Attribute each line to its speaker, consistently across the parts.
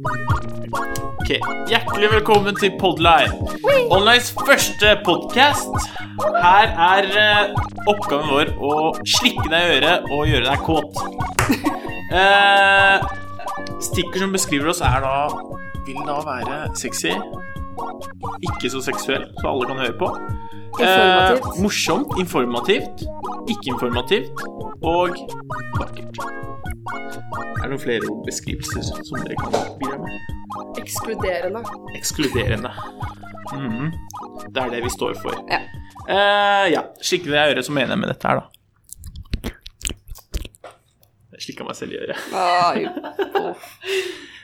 Speaker 1: Ok, Hjertelig velkommen til Podline. Onlines første podkast. Her er eh, oppgaven vår å slikke deg i øret og gjøre deg kåt. Eh, stikkord som beskriver oss, er da Vil da være sexy. Ikke så seksuell, så alle kan høre på. Eh,
Speaker 2: Informativt.
Speaker 1: morsomt, informativt, ikke informativt og vakkert. Er det noen flere ordbeskrivelser som dere kan bidra med?
Speaker 2: Ekskluderende.
Speaker 1: Ekskluderende. Mhm. Det er det vi står for.
Speaker 2: Ja.
Speaker 1: Eh, ja. Slikker deg i øret, så mener jeg med dette her, da. Jeg slikka meg selv i øret.
Speaker 2: Ai,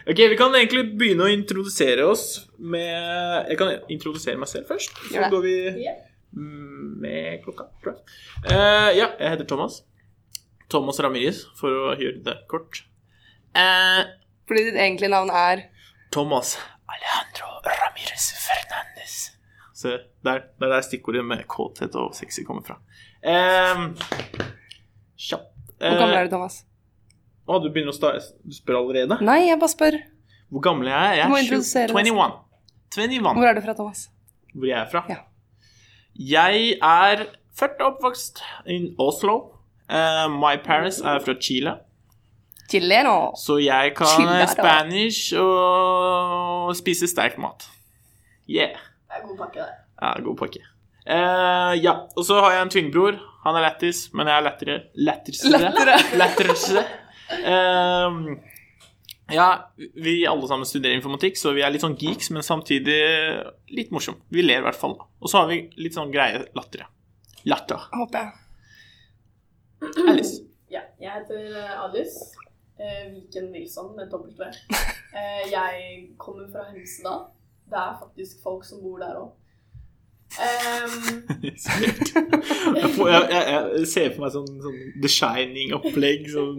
Speaker 1: Ok, Vi kan egentlig begynne å introdusere oss med Jeg kan introdusere meg selv først,
Speaker 2: Gjør
Speaker 1: så
Speaker 2: det.
Speaker 1: går vi med klokka, tror jeg. Eh, ja, jeg heter Thomas. Thomas Ramirez, for å gjøre det kort. Eh,
Speaker 2: Fordi ditt egentlige navn er
Speaker 1: Thomas Alejandro Ramirez Fernandes. Se, der, der er stikkordet med kåthet og sexy kommer fra. Um, ja.
Speaker 2: Hvor gammel er du, Thomas?
Speaker 1: Eh, Å, du begynner å sta Du spør allerede?
Speaker 2: Nei, jeg bare spør.
Speaker 1: Hvor gammel jeg er jeg?
Speaker 2: Du må
Speaker 1: er tjue-
Speaker 2: introdusere deg
Speaker 1: 21. 21.
Speaker 2: Hvor er du fra, Thomas?
Speaker 1: Hvor jeg er fra?
Speaker 2: Ja.
Speaker 1: Jeg er født og oppvokst i Oslo. Eh, my parents er fra Chile.
Speaker 2: Chileno.
Speaker 1: Så jeg kan
Speaker 2: Chilla, da.
Speaker 1: spanish og spise sterk mat. Yeah. Det er god pakke, det. Ja, god pakke. Eh, ja, og så har jeg en tvillingbror. Han er lættis, men jeg er lettere. Lettere. Lettere. Eh, ja, vi alle sammen studerer informatikk, så vi er litt sånn geeks, men samtidig litt morsom. Vi ler i hvert fall. Og så har vi litt sånn greie latter. ja. Latter.
Speaker 2: Håper jeg.
Speaker 1: Alice.
Speaker 3: Ja, jeg heter eh, Alice eh, Viken Wilson med dobbelt V. Eh, jeg kommer fra Hemsedal. Det er faktisk folk som bor der Ehm, òg.
Speaker 1: Sikkert. Jeg, får, jeg, jeg, jeg ser for meg sånn, sånn The Shining-opplegg. Sånn,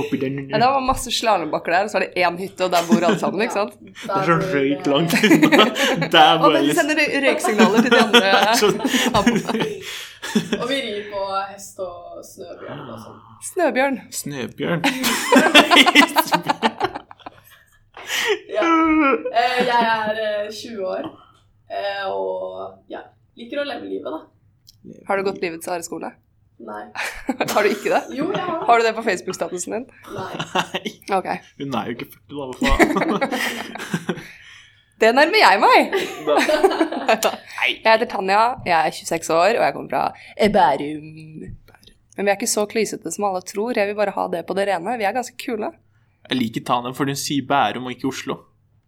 Speaker 1: oppi den
Speaker 2: Ja, det var masse slalåmbakker der, og så var det én hytte, og der bor alle sammen, ikke sant?
Speaker 1: Det er så sånn røyk langt unna. Der
Speaker 2: Og
Speaker 1: var
Speaker 2: men de
Speaker 1: Alice.
Speaker 2: sender røy- røyksignaler til de andre.
Speaker 1: Sånn.
Speaker 3: Og vi rir på hest og snøbjørn og sånn.
Speaker 2: Snøbjørn.
Speaker 1: Snøbjørn.
Speaker 3: Ja. Eh, jeg er eh, 20 år eh, og ja, liker å leve livet, da.
Speaker 2: Har du gått livets areskole?
Speaker 3: Nei.
Speaker 2: Har du ikke det?
Speaker 3: Jo, jeg har det.
Speaker 2: Har du det på Facebook-statusen din?
Speaker 3: Nei.
Speaker 1: Nei,
Speaker 2: Ok.
Speaker 1: hun er jo ikke 40, da. Hva faen?
Speaker 2: Det nærmer jeg meg!
Speaker 1: Da-
Speaker 2: Jeg heter Tanja, jeg er 26 år, og jeg kommer fra Bærum. Men vi er ikke så klysete som alle tror, jeg vil bare ha det på det rene. Vi er ganske kule.
Speaker 1: Jeg liker Tanja, for hun sier Bærum og ikke Oslo.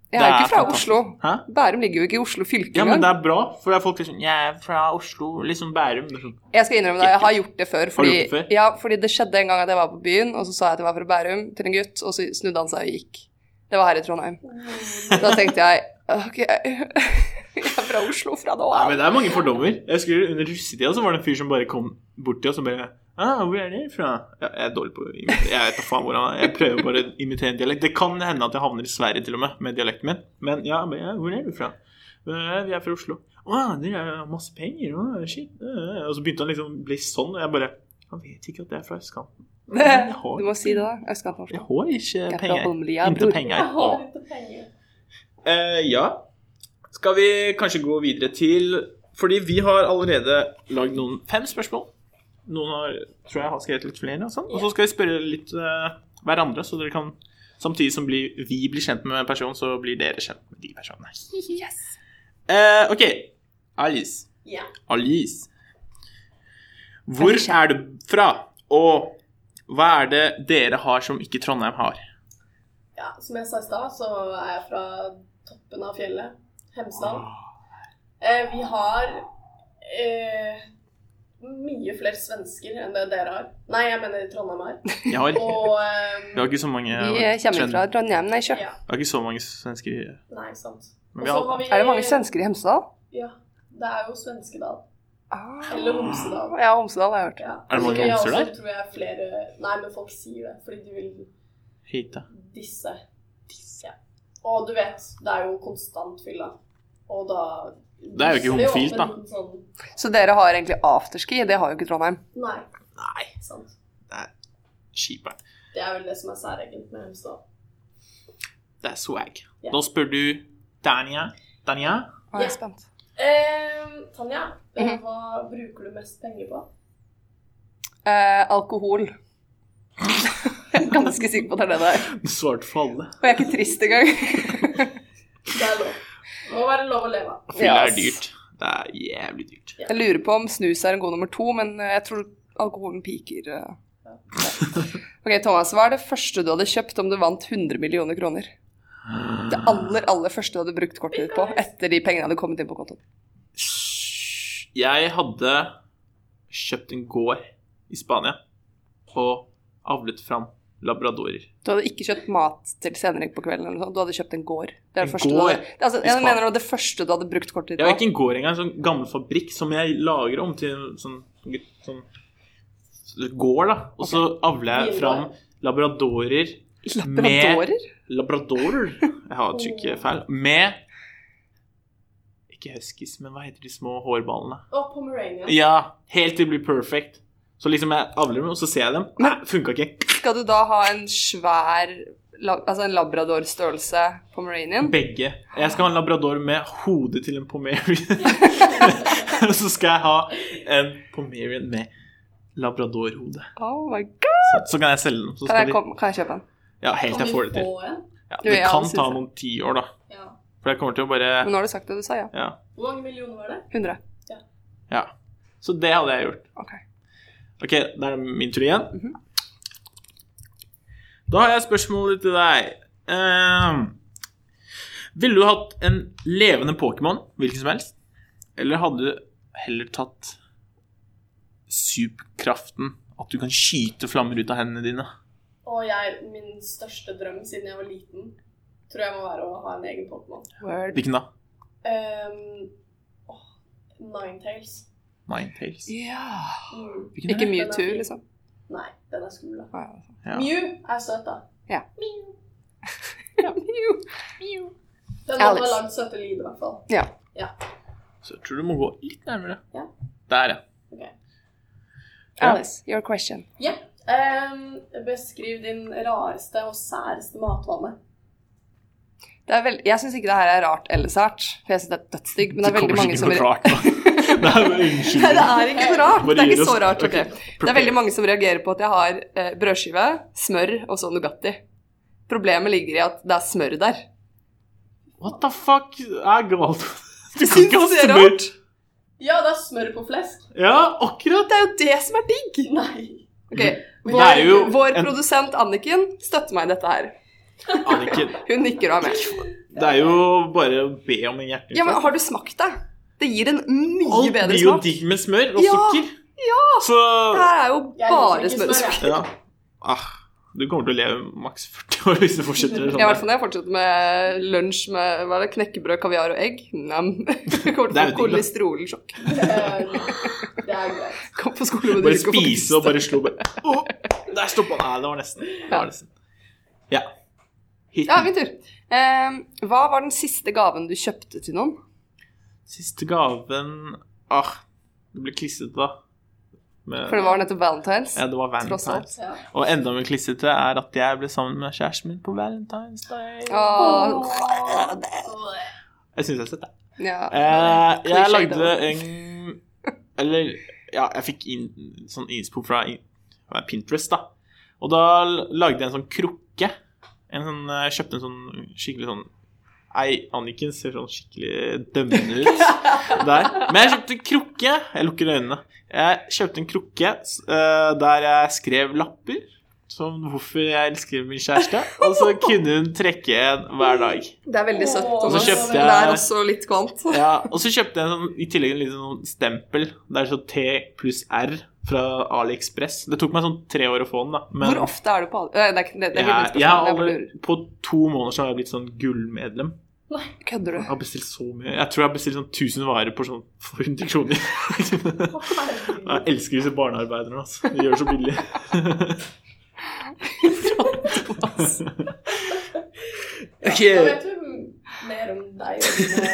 Speaker 2: Jeg er
Speaker 1: Det er
Speaker 2: jo ikke fra
Speaker 1: fantastisk.
Speaker 2: Oslo.
Speaker 1: Hæ?
Speaker 2: Bærum ligger jo ikke i Oslo fylke
Speaker 1: Ja, men det
Speaker 2: engang.
Speaker 1: er bra, for det er folk som er sånn Jeg er fra Oslo, liksom Bærum. Det er sånn,
Speaker 2: Jeg skal innrømme det, jeg har gjort det før. Fordi,
Speaker 1: gjort det før?
Speaker 2: Ja, fordi det skjedde en gang at jeg var på byen, og så sa jeg at jeg var fra Bærum til en gutt, og så snudde han seg og gikk. Det var her i Trondheim. Så da tenkte jeg ok, jeg er fra Oslo fra nå
Speaker 1: Nei,
Speaker 2: av.
Speaker 1: men det er mange fordommer. Jeg husker Under russetida så var det en fyr som bare kom bort til oss og bare ah, 'Hvor er dere fra?' Jeg, jeg er dårlig på å imitere Jeg vet da faen hvor han er. Jeg prøver bare å imitere en dialekt. Det kan hende at jeg havner i Sverige til og med med dialekten min. Men ja, men, ja 'Hvor er du fra?' «Eh, 'Vi er fra Oslo'. 'Å, dere har masse penger', å, shit. eh.» Og så begynte han liksom å bli sånn, og jeg bare Han vet ikke at jeg er fra østkanten. Jeg
Speaker 2: Du
Speaker 1: har,
Speaker 2: må si det, da. Østkanten av
Speaker 1: jeg
Speaker 2: Oslo.
Speaker 1: har ikke
Speaker 2: Jeg er fra
Speaker 1: penger.
Speaker 2: Holmlia,
Speaker 1: Inte
Speaker 2: bror.
Speaker 1: penger.
Speaker 3: Jeg har ikke penger.
Speaker 1: Eh, ja. Skal vi kanskje gå videre til Fordi vi har allerede lagd noen fem spørsmål. Noen har, tror jeg har skrevet litt flere. Og, sånn. og så skal vi spørre litt eh, hverandre, så dere kan Samtidig som blir, vi blir kjent med en person, så blir dere kjent med de personene.
Speaker 2: Yes.
Speaker 1: Eh, OK. Alice.
Speaker 3: Ja.
Speaker 1: Alice. Hvor er du fra, og hva er det dere har som ikke Trondheim har?
Speaker 3: ja. Som jeg sa i stad, så er jeg fra toppen av fjellet. Hemsedal. Eh, vi har eh, mye flere svensker enn det dere har. Nei, jeg mener Trondheim har.
Speaker 1: Jeg har,
Speaker 3: Og
Speaker 1: vi
Speaker 3: eh,
Speaker 1: har ikke så mange
Speaker 2: Vi eh, kommer fra Trondheim, nei, kjøp.
Speaker 3: ja.
Speaker 1: Det er ikke så mange svensker i
Speaker 3: Nei, sant.
Speaker 1: Men
Speaker 3: Og
Speaker 1: vi
Speaker 3: så
Speaker 1: har-
Speaker 3: har vi
Speaker 2: Er det mange svensker i Hemsedal?
Speaker 3: Ja. Det er jo Svenskedal.
Speaker 2: Ah.
Speaker 3: Eller Homsedal.
Speaker 2: Ja, Homsedal har jeg hørt.
Speaker 3: Ja.
Speaker 1: Er det mange
Speaker 3: Så vi har
Speaker 1: homser
Speaker 3: også,
Speaker 1: der?
Speaker 3: Tror jeg, flere... Nei, men folk sier det fordi de vil
Speaker 1: Hita.
Speaker 3: disse. Ja. Og du vet, det er jo konstant fylla. Og da
Speaker 1: Det er jo ikke homofilt, da.
Speaker 3: åpner en liten Sånn,
Speaker 2: Så dere har egentlig afterski, det har jo ikke Trondheim.
Speaker 3: nei,
Speaker 1: Nei,
Speaker 3: sant.
Speaker 1: skiperen.
Speaker 3: Det er vel det som er særegent med Hemsedal.
Speaker 1: Det er swag.
Speaker 3: Ja.
Speaker 1: Nå spør du Dania. Dania?
Speaker 2: Nå er
Speaker 3: Ja.
Speaker 2: jeg spent.
Speaker 3: Eh, Tanja,
Speaker 2: Mhm.
Speaker 3: hva bruker du mest penger på?
Speaker 2: Eh, alkohol. jeg er ganske sikker på at det er det det er.
Speaker 1: Du svarte for alle.
Speaker 2: Og jeg er ikke trist engang.
Speaker 3: Det er lov. Det må være lov å leve av.
Speaker 1: Fylla
Speaker 2: Ja,
Speaker 1: er
Speaker 2: ass.
Speaker 1: dyrt. Det er jævlig dyrt.
Speaker 2: Jeg lurer på om snus er en god nummer to, men eh, jeg tror alkoholen piker. eh. Ja. Ok, Thomas, hva er det første du hadde kjøpt om du vant 100 millioner kroner? Det aller, aller første du hadde brukt kortet ditt på etter de pengene hadde kommet inn på kontoen.
Speaker 1: Jeg hadde kjøpt en gård i Spania og avlet fram labradorer.
Speaker 2: Du hadde ikke kjøpt mat til senere på kvelden, eller noe sånt. du hadde kjøpt en gård. Det er
Speaker 1: En
Speaker 2: det første du
Speaker 1: gård?
Speaker 2: hadde, det, er altså,
Speaker 1: I
Speaker 2: jeg
Speaker 1: Span-
Speaker 2: mener det var det første du hadde brukt kortet
Speaker 1: Jeg har
Speaker 2: ditt på.
Speaker 1: ikke en gård engang, en sånn gammel fabrikk som jeg lager om til en sånn, sånn gård, da. Og så avler jeg fram labradorer med
Speaker 2: Labradorer?
Speaker 1: Labradorer? Jeg har trykket feil. Med Ikke huskies, men hva heter de små hårballene?
Speaker 3: Og Pomerania.
Speaker 1: Ja, helt til det blir perfect. Så liksom jeg avler dem, og så ser jeg dem. Nei, funka ikke.
Speaker 2: Skal du da ha en svær la- Altså en labradorstørrelse pomeranian?
Speaker 1: Begge. Jeg skal ha en labrador med hodet til en pomerian. Og så skal jeg ha en pomerian med labradorhode.
Speaker 2: Oh my god!
Speaker 1: Så, så kan jeg selge dem. Så
Speaker 2: Kan
Speaker 1: skal
Speaker 2: jeg,
Speaker 1: de,
Speaker 2: kom, kan jeg kjøpe en?
Speaker 1: ja, helt til jeg får det til.
Speaker 3: Få en?
Speaker 1: Ja,
Speaker 2: Jo,
Speaker 1: det
Speaker 2: jeg
Speaker 1: kan
Speaker 2: synes
Speaker 1: ta
Speaker 2: det.
Speaker 1: noen tiår, da.
Speaker 3: Ja.
Speaker 1: For jeg kommer til å bare
Speaker 2: Men nå har du sagt det du sa, ja.
Speaker 1: Ja.
Speaker 3: Hvor mange millioner var det?
Speaker 2: 100.
Speaker 1: ja. Så det hadde jeg gjort.
Speaker 2: Ok.
Speaker 1: Ok, da er det min tur igjen.
Speaker 2: Mhm.
Speaker 1: Da har jeg spørsmålet til deg. Ehm, ville du hatt en levende Pokémon, hvilken som helst? Eller hadde du heller tatt superkraften, at du kan skyte flammer ut av hendene dine?
Speaker 3: Og jeg, min største drøm siden jeg var liten, tror jeg må være å ha en egen Pokémon.
Speaker 2: Word.
Speaker 1: Hvilken da?
Speaker 3: Um, åh, Ninetales.
Speaker 1: Ninetales?
Speaker 2: Ja.
Speaker 3: Mm.
Speaker 1: Hvilken er
Speaker 2: Ikke
Speaker 1: det?
Speaker 2: Mewtwo, liksom.
Speaker 3: Nei, den er skummel. da.
Speaker 2: Ja.
Speaker 1: Ja.
Speaker 3: Mew er søt, da.
Speaker 2: Ja.
Speaker 3: Mew.
Speaker 2: Mew.
Speaker 3: Mew. Den må
Speaker 2: Alex.
Speaker 3: ha langt søte lyd, i hvert fall.
Speaker 2: Ja.
Speaker 1: Så jeg tror du må gå litt nærmere.
Speaker 3: Ja.
Speaker 1: Der, ja.
Speaker 3: Ok.
Speaker 1: Ja.
Speaker 2: Alice, your question.
Speaker 3: Ja. Ehm, beskriv din rareste og særeste matvane.
Speaker 2: Det er vel, jeg syns ikke det her er rart eller sært, for jeg syns det er dødsdigg. Men det er veldig
Speaker 1: kommer
Speaker 2: mange som
Speaker 1: sikkert noe klart, da. Nei, men unnskyld.
Speaker 2: Nei, det er ikke så rart.
Speaker 1: Bare
Speaker 2: Det er
Speaker 1: gir
Speaker 2: ikke
Speaker 1: oss-
Speaker 2: så rart.
Speaker 1: ok,
Speaker 2: ok. Det er veldig mange som reagerer på at jeg har eh, brødskive, smør og så Nugatti. Problemet ligger i at det er smør der.
Speaker 1: What the fuck er galt? Du
Speaker 2: Syns det er rart?
Speaker 3: Ja, det er smør på flesk.
Speaker 1: Ja, akkurat.
Speaker 2: Det er jo det som er digg!
Speaker 3: Nei.
Speaker 2: Ok,
Speaker 1: Det
Speaker 2: Vår,
Speaker 1: er jo
Speaker 2: vår
Speaker 1: en-
Speaker 2: produsent Anniken støtter meg i dette her.
Speaker 1: Anniken,
Speaker 2: Hun nikker og er med.
Speaker 1: det er jo bare å be om en hjerteinfarkt.
Speaker 2: Ja, men Har du smakt det? Det gir en mye
Speaker 1: Alt
Speaker 2: bedre
Speaker 1: blir jo
Speaker 2: smak.
Speaker 1: digg med smør og
Speaker 2: Ja,
Speaker 1: sukker. Så
Speaker 2: Det her er jo
Speaker 3: Jeg liker
Speaker 2: bare
Speaker 3: ikke
Speaker 2: smør og
Speaker 3: smør,
Speaker 2: sukker.
Speaker 3: jeg.
Speaker 1: Ja. Ah, du kommer til å leve maks 40 år hvis du fortsetter sånn.
Speaker 2: Ja, I hvert fall når jeg fortsetter med lunsj med hva er det, knekkebrød, kaviar og egg. Nam. Jeg Kommer
Speaker 1: Det er jo digg,
Speaker 2: til å få
Speaker 1: da.
Speaker 2: kolesterolsjokk.
Speaker 3: Ehm, det er greit.
Speaker 2: Kom på skole med
Speaker 1: Bare
Speaker 2: dyrke og få
Speaker 1: spise og
Speaker 2: spist.
Speaker 1: bare slå bare Åh, Der stoppa Nei, det var nesten. Det var nesten. Ja. Hit.
Speaker 2: Ja, min tur. Eh, hva var den siste gaven du kjøpte til noen?
Speaker 1: Siste gaven Ah, det ble klissete, da. Med-
Speaker 2: For det var nettopp Valentine's.
Speaker 1: ja, det var
Speaker 2: tross alt.
Speaker 1: Valentine's.
Speaker 3: Ja.
Speaker 1: Og enda mer klissete er at jeg ble sammen med kjæresten min på Valentine's Day.
Speaker 2: Åh,
Speaker 1: Jeg syns jeg har sett det.
Speaker 2: ja.
Speaker 1: Eh, jeg
Speaker 2: Cliché,
Speaker 1: lagde
Speaker 2: da.
Speaker 1: en Eller ja, jeg fikk inn, sånn innspo fra in- hva er Pinterest, da. Og da l- lagde jeg en sånn krukke. En sånn, jeg kjøpte en sånn skikkelig sånn Ei, Anniken ser sånn skikkelig dømmende ut der. Men jeg kjøpte en krukke. Jeg lukker øynene. Jeg kjøpte en krukke s- eh, der jeg skrev lapper. Som hvorfor jeg elsker min kjæreste. Og så kunne hun trekke en hver dag.
Speaker 2: Det er veldig søtt.
Speaker 3: Åh,
Speaker 1: Og så
Speaker 2: Thomas.
Speaker 1: kjøpte
Speaker 2: Det er
Speaker 1: jeg-
Speaker 2: også litt kvant.
Speaker 1: Ja, og så kjøpte jeg en sånn, i tillegg en liten sånn stempel. Det er så T pluss R fra AliExpress. Det tok meg sånn tre år å få den, da. Men
Speaker 2: Hvor ofte er du på Aldi? Eh, Det er ikke det, det er
Speaker 1: jeg,
Speaker 2: ikke et
Speaker 1: jeg har
Speaker 2: spørsmål, jeg bare
Speaker 1: aldri,
Speaker 2: lurer.
Speaker 1: på to måneder så har jeg blitt sånn gullmedlem.
Speaker 2: Kødder du?
Speaker 1: Jeg har bestilt så mye. Jeg tror jeg har bestilt sånn 1000 varer på sånn for 100 kroner. Jeg elsker disse barnearbeiderne, altså. De gjør det så billig. ok.
Speaker 3: Da vet vi mer om deg og dine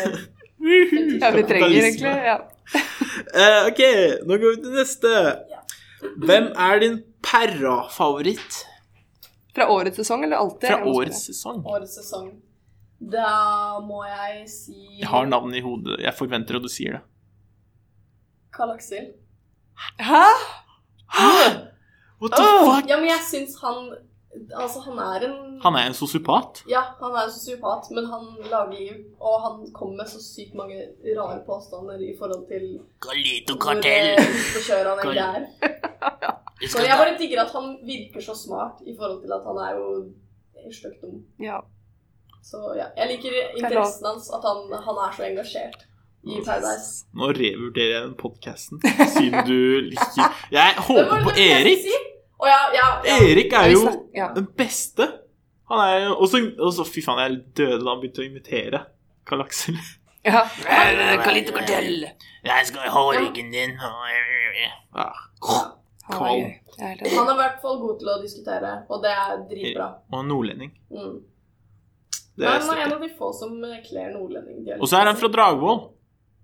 Speaker 1: Woohoo!
Speaker 2: Ja, vi trenger
Speaker 1: Kapitalisme.
Speaker 2: egentlig ja.
Speaker 1: Eh, ok, nå går vi til neste. Hvem er din perra-favoritt
Speaker 2: Fra årets sesong, eller alltid?
Speaker 1: fra
Speaker 2: eller hva
Speaker 1: årets
Speaker 2: som
Speaker 1: sesong?
Speaker 3: Årets sesong. Da må jeg si
Speaker 1: Jeg har navnet i hodet. Jeg forventer at du sier det.
Speaker 3: Karl Aksel.
Speaker 2: er. Hæ?
Speaker 1: What the fuck?
Speaker 3: Ja, men jeg syns han Altså, han er en
Speaker 1: Han er en sosiopat.
Speaker 3: Ja, han er en sosiopat, men han lager liv, og han kommer med så sykt mange rare påstander i forhold til
Speaker 1: Galito-kartell.
Speaker 3: forkjøra han egentlig er. Så jeg bare digger at han virker så smart i forhold til at han er jo stygt dum.
Speaker 2: Ja.
Speaker 3: Så ja, jeg liker interessen hans, at han, han er så engasjert i Paradise.
Speaker 1: Nå revurderer jeg den podkasten, siden du liker Jeg håper på Erik.
Speaker 3: Å ja, ja, ja.
Speaker 1: Erik er
Speaker 2: Vi
Speaker 1: jo
Speaker 2: snakker- ja.
Speaker 1: den beste. Han er jo Og så, og så- fy faen, jeg døde da han begynte å invitere Karl Aksel.
Speaker 2: ja.
Speaker 1: Jeg skal ha ryggen din. Ja. Ah.
Speaker 2: Han er
Speaker 1: Carl.
Speaker 2: gøy. Jeg er helt enig.
Speaker 3: Han er i hvert fall god til å diskutere, og det er dritbra.
Speaker 1: Og en nordlending.
Speaker 3: Mm.
Speaker 1: Det er
Speaker 3: Nei, han er en
Speaker 1: støtter.
Speaker 3: av de få som eh, kler nordlending.
Speaker 1: Og så er han fra Dragvoll.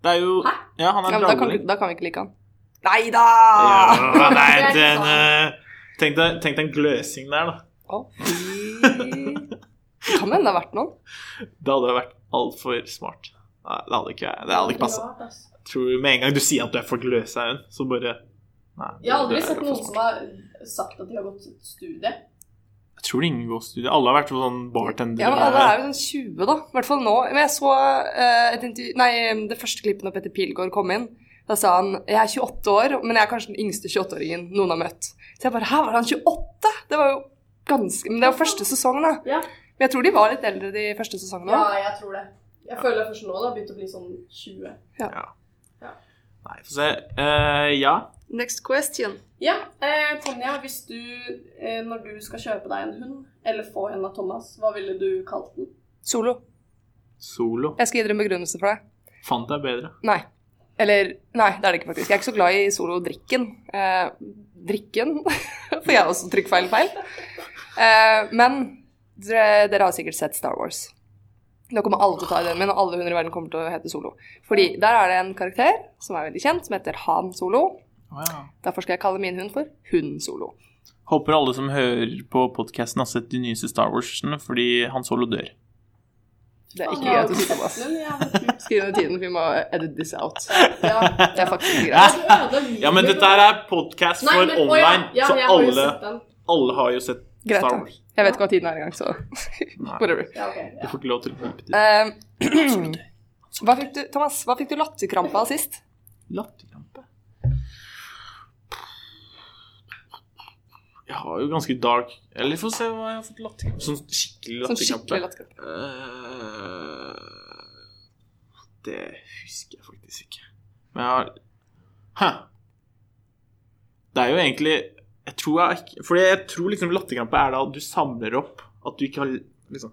Speaker 1: Det er jo
Speaker 3: Hæ?
Speaker 1: Ja, han er
Speaker 2: Ja, men da kan,
Speaker 1: dragvolling.
Speaker 2: vi- da kan vi ikke like han. Nei da!
Speaker 1: Ja, det er
Speaker 3: Det er
Speaker 1: en, eh, Tenk deg tenk deg en gløsing der, da.
Speaker 2: Å, fy. Det kan hende det har vært noen.
Speaker 1: Det hadde vært altfor smart. Nei, det hadde ikke, det hadde ikke passa. Tror du Med en gang du sier at du er for gløshaugen, så bare Nei.
Speaker 3: Jeg har aldri
Speaker 1: det er
Speaker 3: sett
Speaker 1: for
Speaker 3: noen
Speaker 1: smart.
Speaker 3: som har sagt at de har gått et studie.
Speaker 1: Jeg tror det er ingen går studie. Alle har vært sånn bartender.
Speaker 2: Ja, men Alle er jo sånn 20, da. I hvert fall nå. Men jeg så eh, et intervju Nei, det første klippet når Petter Pilgaard kom inn. Da sa han jeg er 28 år, men jeg er kanskje den yngste 28-åringen noen har møtt. Så jeg bare Hæ, var han 28? Det var jo ganske Men det var første sesongen, da.
Speaker 3: Ja.
Speaker 2: Men jeg tror de var litt eldre de første sesongene.
Speaker 3: Ja,
Speaker 2: også.
Speaker 3: jeg tror det. Jeg føler først nå det har begynt å bli sånn 20.
Speaker 1: Nei, få se. Eh, ja.
Speaker 2: Next question.
Speaker 3: Ja, eh, Tonja, hvis du, eh, når du skal kjøpe deg en hund, eller få en av Thomas, hva ville du kalt den?
Speaker 2: Solo.
Speaker 1: Solo.
Speaker 2: Jeg skal gi dere en begrunnelse for det.
Speaker 1: Fant deg bedre.
Speaker 2: Nei. Eller Nei, det er det ikke, faktisk. Jeg er ikke så glad i solo-drikken. Eh, drikken For jeg har også trykkfeil feil. Eh, men dere, dere har sikkert sett Star Wars. Nå kommer alle til å ta ideen min, og alle hunder i verden kommer til å hete Solo. Fordi der er det en karakter som er veldig kjent, som heter Han Solo.
Speaker 1: Å, ja.
Speaker 2: Derfor skal jeg kalle min hund for Hun Solo.
Speaker 1: Håper alle som hører på podkasten, har sett de nyeste Star Warsene, fordi Han Solo dør.
Speaker 2: Det er ikke
Speaker 3: Ja,
Speaker 2: greit å si, Thomas.
Speaker 3: men ja, kult.
Speaker 2: Skriv ned tiden, for vi må edit this out.
Speaker 3: Ja,
Speaker 2: Det er faktisk ikke greit.
Speaker 3: ja. Du ødela
Speaker 1: Ja, men
Speaker 3: livet.
Speaker 1: dette her er podkast
Speaker 3: Nei,
Speaker 1: for
Speaker 3: men- å, ja,
Speaker 1: online,
Speaker 3: ja,
Speaker 1: så
Speaker 3: jeg har jo
Speaker 1: alle,
Speaker 3: sett den.
Speaker 1: alle har jo sett
Speaker 2: Greit,
Speaker 1: Star
Speaker 2: ja.
Speaker 1: Wars.
Speaker 2: Jeg vet ikke hva tiden er engang, så whatever.
Speaker 3: Ja, ok,
Speaker 1: Du
Speaker 3: ja.
Speaker 1: får ikke lov til å pipe til.
Speaker 2: Eh, hva fikk du, Thomas, hva fikk du latterkrampe av sist?
Speaker 1: Latterkrampe Jeg har jo ganske dark Eller få se hva jeg har fått latterkrampe. Sånn skikkelig
Speaker 2: Sånn skikkelig
Speaker 1: latterkrampe.
Speaker 2: latterkrampe.
Speaker 1: Eh, Øh, det husker jeg faktisk ikke. Men jeg har Hæ. Det er jo egentlig Jeg tror jeg ikke Fordi jeg tror liksom latterkrampe er da du samler opp at du ikke har liksom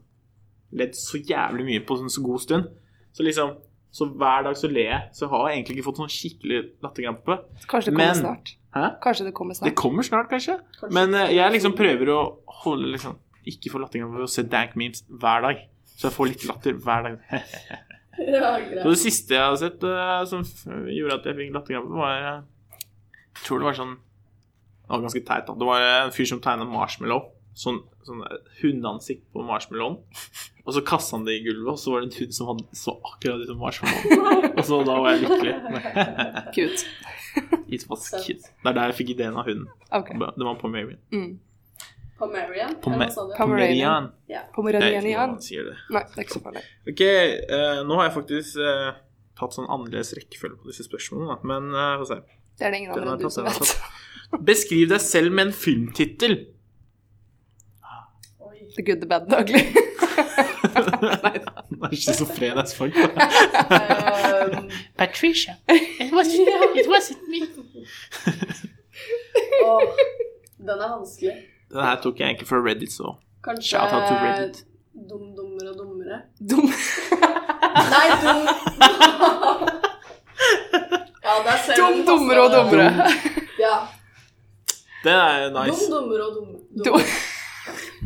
Speaker 1: ledd så jævlig mye på en så god stund. Så liksom Så hver dag så ler jeg. Så jeg har egentlig ikke fått sånn skikkelig latterkrampe.
Speaker 2: Kanskje det kommer
Speaker 1: Men-
Speaker 2: snart.
Speaker 1: Hæ?
Speaker 2: Kanskje det kommer
Speaker 1: Det
Speaker 2: snart.
Speaker 1: kommer snart, kanskje.
Speaker 3: Kanskje.
Speaker 1: Men eh, jeg liksom prøver å holde liksom Ikke få latterkrampe ved å se dank memes hver dag. Så jeg får litt latter hver dag.
Speaker 3: ja,
Speaker 1: Så
Speaker 3: greit.
Speaker 1: det siste jeg har sett eh, som f- gjorde at jeg fikk latterkrampe, var eh, Jeg tror det var sånn Det var ganske teit, da. Det var en fyr som tegna marshmallow. Sånn, sånn hundeansikt på marshmallowen. Og så kasta han det i gulvet, og så var det en hund som hadde så akkurat ut som marshmallow. Og så da var jeg lykkelig.
Speaker 2: Cute.
Speaker 1: It was cute. Det er der jeg fikk ideen av hunden.
Speaker 2: Ok.
Speaker 1: Det var på Marion.
Speaker 2: Mm.
Speaker 3: Pomerian?
Speaker 1: Pome-
Speaker 3: eller hva sa du?
Speaker 2: Pom-
Speaker 1: Pomeranian.
Speaker 2: Pomeranian.
Speaker 1: Det er ikke noe
Speaker 2: Pomeranian.
Speaker 1: man sier det.
Speaker 2: Nei, det er ikke så farlig.
Speaker 1: Ok, eh, nå har jeg faktisk eh, tatt sånn annerledes rekkefølge på disse spørsmålene, da. men eh, få se.
Speaker 2: Det er det ingen
Speaker 1: Den
Speaker 2: andre
Speaker 1: har
Speaker 2: enn du
Speaker 1: jeg
Speaker 2: som
Speaker 1: tatt, den har jeg
Speaker 2: vet.
Speaker 1: Beskriv deg selv med en filmtittel.
Speaker 3: Oi.
Speaker 2: The good, the bad, the ugly.
Speaker 1: Det er ikke så fredagsfolk.
Speaker 3: Um,
Speaker 1: Patricia.
Speaker 3: Åh, den er vanskelig.
Speaker 1: Den her tok jeg egentlig fra Reddit, så
Speaker 3: Kanskje
Speaker 1: shout out to Reddit.
Speaker 3: dum, dummere og dummere.
Speaker 2: Dum.
Speaker 3: Nei, dum Ja, der ser
Speaker 2: Dum,
Speaker 3: vi den
Speaker 2: dummere og
Speaker 3: faste-
Speaker 2: dummere.
Speaker 3: Ja.
Speaker 1: Den er jo
Speaker 3: Dum,
Speaker 1: nice.
Speaker 3: dummere og dummere.
Speaker 2: Dum.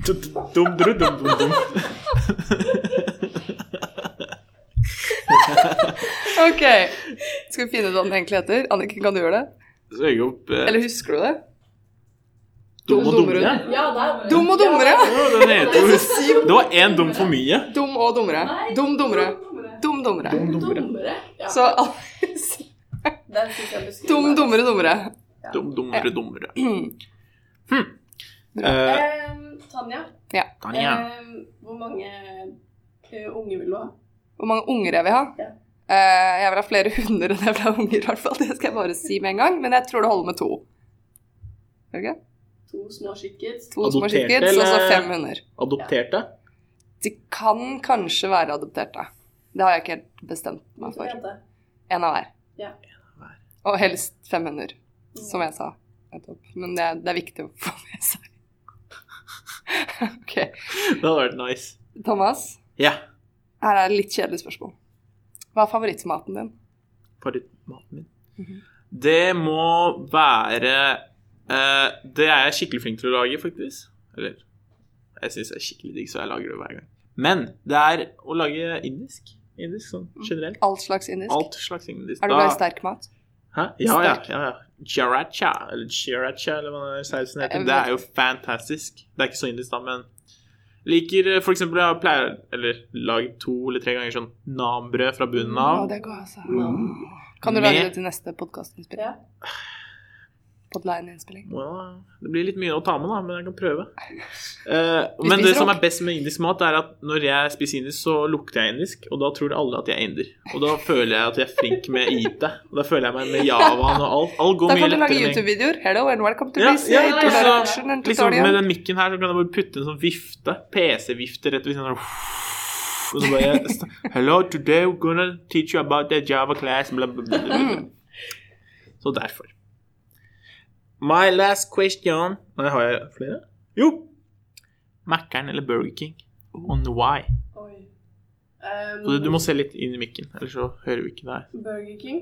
Speaker 1: Dum, dru, dum, dum, dum.
Speaker 2: Ok. Skal vi finne ut hva den egentlig heter? Anniken, kan du gjøre det?
Speaker 1: Søke opp eh,
Speaker 2: Eller husker du det?
Speaker 1: Dum og
Speaker 2: dummere.
Speaker 1: dummere.
Speaker 4: Ja, der var det.
Speaker 2: Dum og dummere!
Speaker 1: Å, den heter jo
Speaker 2: Syv.
Speaker 1: Det var én dum for mye.
Speaker 2: Dum og dummere.
Speaker 4: Nei,
Speaker 2: Dum dummere.
Speaker 4: dummere.
Speaker 2: Dum dummere.
Speaker 1: Dum dummere.
Speaker 4: Dummere?
Speaker 3: Ja,
Speaker 2: Så al-
Speaker 3: den synes jeg beskriver
Speaker 2: dum
Speaker 3: meg.
Speaker 2: dummere dummere.
Speaker 1: Dum dummere, dummere. Hm.
Speaker 2: Mm.
Speaker 1: Eh,
Speaker 3: Ehm, Tanja,
Speaker 1: Tanja.
Speaker 3: ehm, hvor mange eh, unge vil du ha?
Speaker 2: Hvor mange unger jeg vil ha?
Speaker 3: Ja.
Speaker 2: Eh, Jeg vil ha flere hunder enn jeg vil ha unger, i hvert fall. Det skal jeg bare si med en gang. Men jeg tror det holder med to. Gjør det ikke?
Speaker 3: To små skikkers?
Speaker 2: To små
Speaker 1: Adopterte,
Speaker 2: chickens, og så
Speaker 1: eller?
Speaker 2: fem hunder.
Speaker 1: Adopterte?
Speaker 2: De kan kanskje være adopterte. Det har jeg ikke helt bestemt meg
Speaker 3: To
Speaker 2: for.
Speaker 3: jenter.
Speaker 2: En av hver.
Speaker 3: Ja.
Speaker 1: hver.
Speaker 2: Og helst fem hunder, som jeg sa nettopp. Men det er, det er viktig å få med seg. ok.
Speaker 1: Det hadde vært nice.
Speaker 2: Thomas,
Speaker 1: Ja.
Speaker 2: her er et litt kjedelig spørsmål. Hva er favorittmaten din?
Speaker 1: favorittmaten min.
Speaker 2: Mhm.
Speaker 1: Det må være eh, Det er jeg skikkelig flink til å lage, faktisk. Eller Jeg syns det er skikkelig digg, så jeg lager det hver gang. Men det er å lage indisk. Indisk sånn generelt.
Speaker 2: All slags Mm. indisk?
Speaker 1: Alt slags indisk.
Speaker 2: Er du
Speaker 1: Da-
Speaker 2: glad i sterk mat?
Speaker 1: Hæ? Ja, ja,
Speaker 2: sterk?
Speaker 1: ja, ja. Jaracha, eller chiracha, eller hva den sausen
Speaker 2: Jeg
Speaker 1: heter.
Speaker 2: vet
Speaker 1: Det er jo fantastisk. Det er ikke så indisk, da, men liker eh, for eksempel Jeg pleier eller lagd to eller tre ganger sånn nambrød fra bunnen
Speaker 2: Å,
Speaker 1: av.
Speaker 2: det er godt, altså.
Speaker 1: Mm.
Speaker 2: Kan du lage
Speaker 1: Med-
Speaker 2: det til neste podkastinnspilling?
Speaker 3: Ja.
Speaker 2: Podline-innspilling?
Speaker 1: Ja, det blir litt mye å ta med, da, men jeg kan prøve. Eh, men
Speaker 2: spiser
Speaker 1: det som
Speaker 2: rock.
Speaker 1: er best med indisk mat, er at når jeg spiser indisk, så lukter jeg indisk, og da tror alle at jeg er inder. Og da føler jeg at jeg er flink med IT. Og da føler jeg meg med Javaen og alt. Alt går
Speaker 2: Da
Speaker 1: mye
Speaker 2: kan du lage
Speaker 1: lettere. med-
Speaker 2: YouTube-videoer. Hello and welcome to
Speaker 1: Ja,
Speaker 2: this
Speaker 1: ja,
Speaker 2: eh,
Speaker 1: ja,
Speaker 2: tutorial
Speaker 1: ja.
Speaker 2: action and
Speaker 1: Liksom, med
Speaker 2: tutorial.
Speaker 1: den mikken her så kan jeg bare putte en sånn vifte, PC-vifte, rett ved siden av. Og så bare st- Hello, today we're gonna teach you about the Java class bla, bla, bla, bla, bla. Så derfor. My last question Nei, har jeg flere? Jo! Mækkern eller Burger King? On why?
Speaker 3: Oi. Ehm,
Speaker 1: Så du må se litt inn i mikken, ellers så hører vi ikke deg.
Speaker 3: Burger King,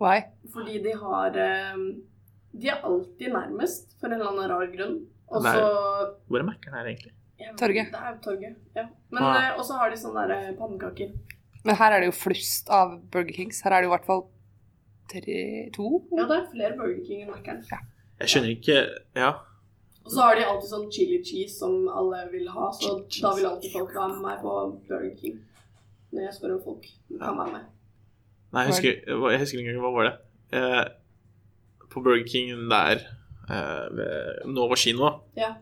Speaker 2: Why?
Speaker 3: fordi de har ehm, De er alltid nærmest, for en eller annen rar grunn. Og
Speaker 1: Nei.
Speaker 3: så
Speaker 1: Hvor er Mækkern her, egentlig?
Speaker 3: Jeg vet-
Speaker 2: Torget.
Speaker 3: Det er torget, ja. Men
Speaker 1: Ah.
Speaker 3: eh, Og så har de sånne der eh, pannekaker.
Speaker 2: Men her er det jo flust av Burger Kings. Her er det jo i hvert fall tre to?
Speaker 3: Ja, det er flere Burger King enn Mækkern.
Speaker 1: Jeg skjønner ikke Ja.
Speaker 3: Og så har de alltid sånn chili cheese som alle vil ha, så da vil alltid folk være med meg på Burger King. Når jeg spør om folk kan være med.
Speaker 1: Nei, jeg husker, jeg husker ikke engang hva var det. Eh, på Burger King der eh, ved Nova kino,
Speaker 3: Ja.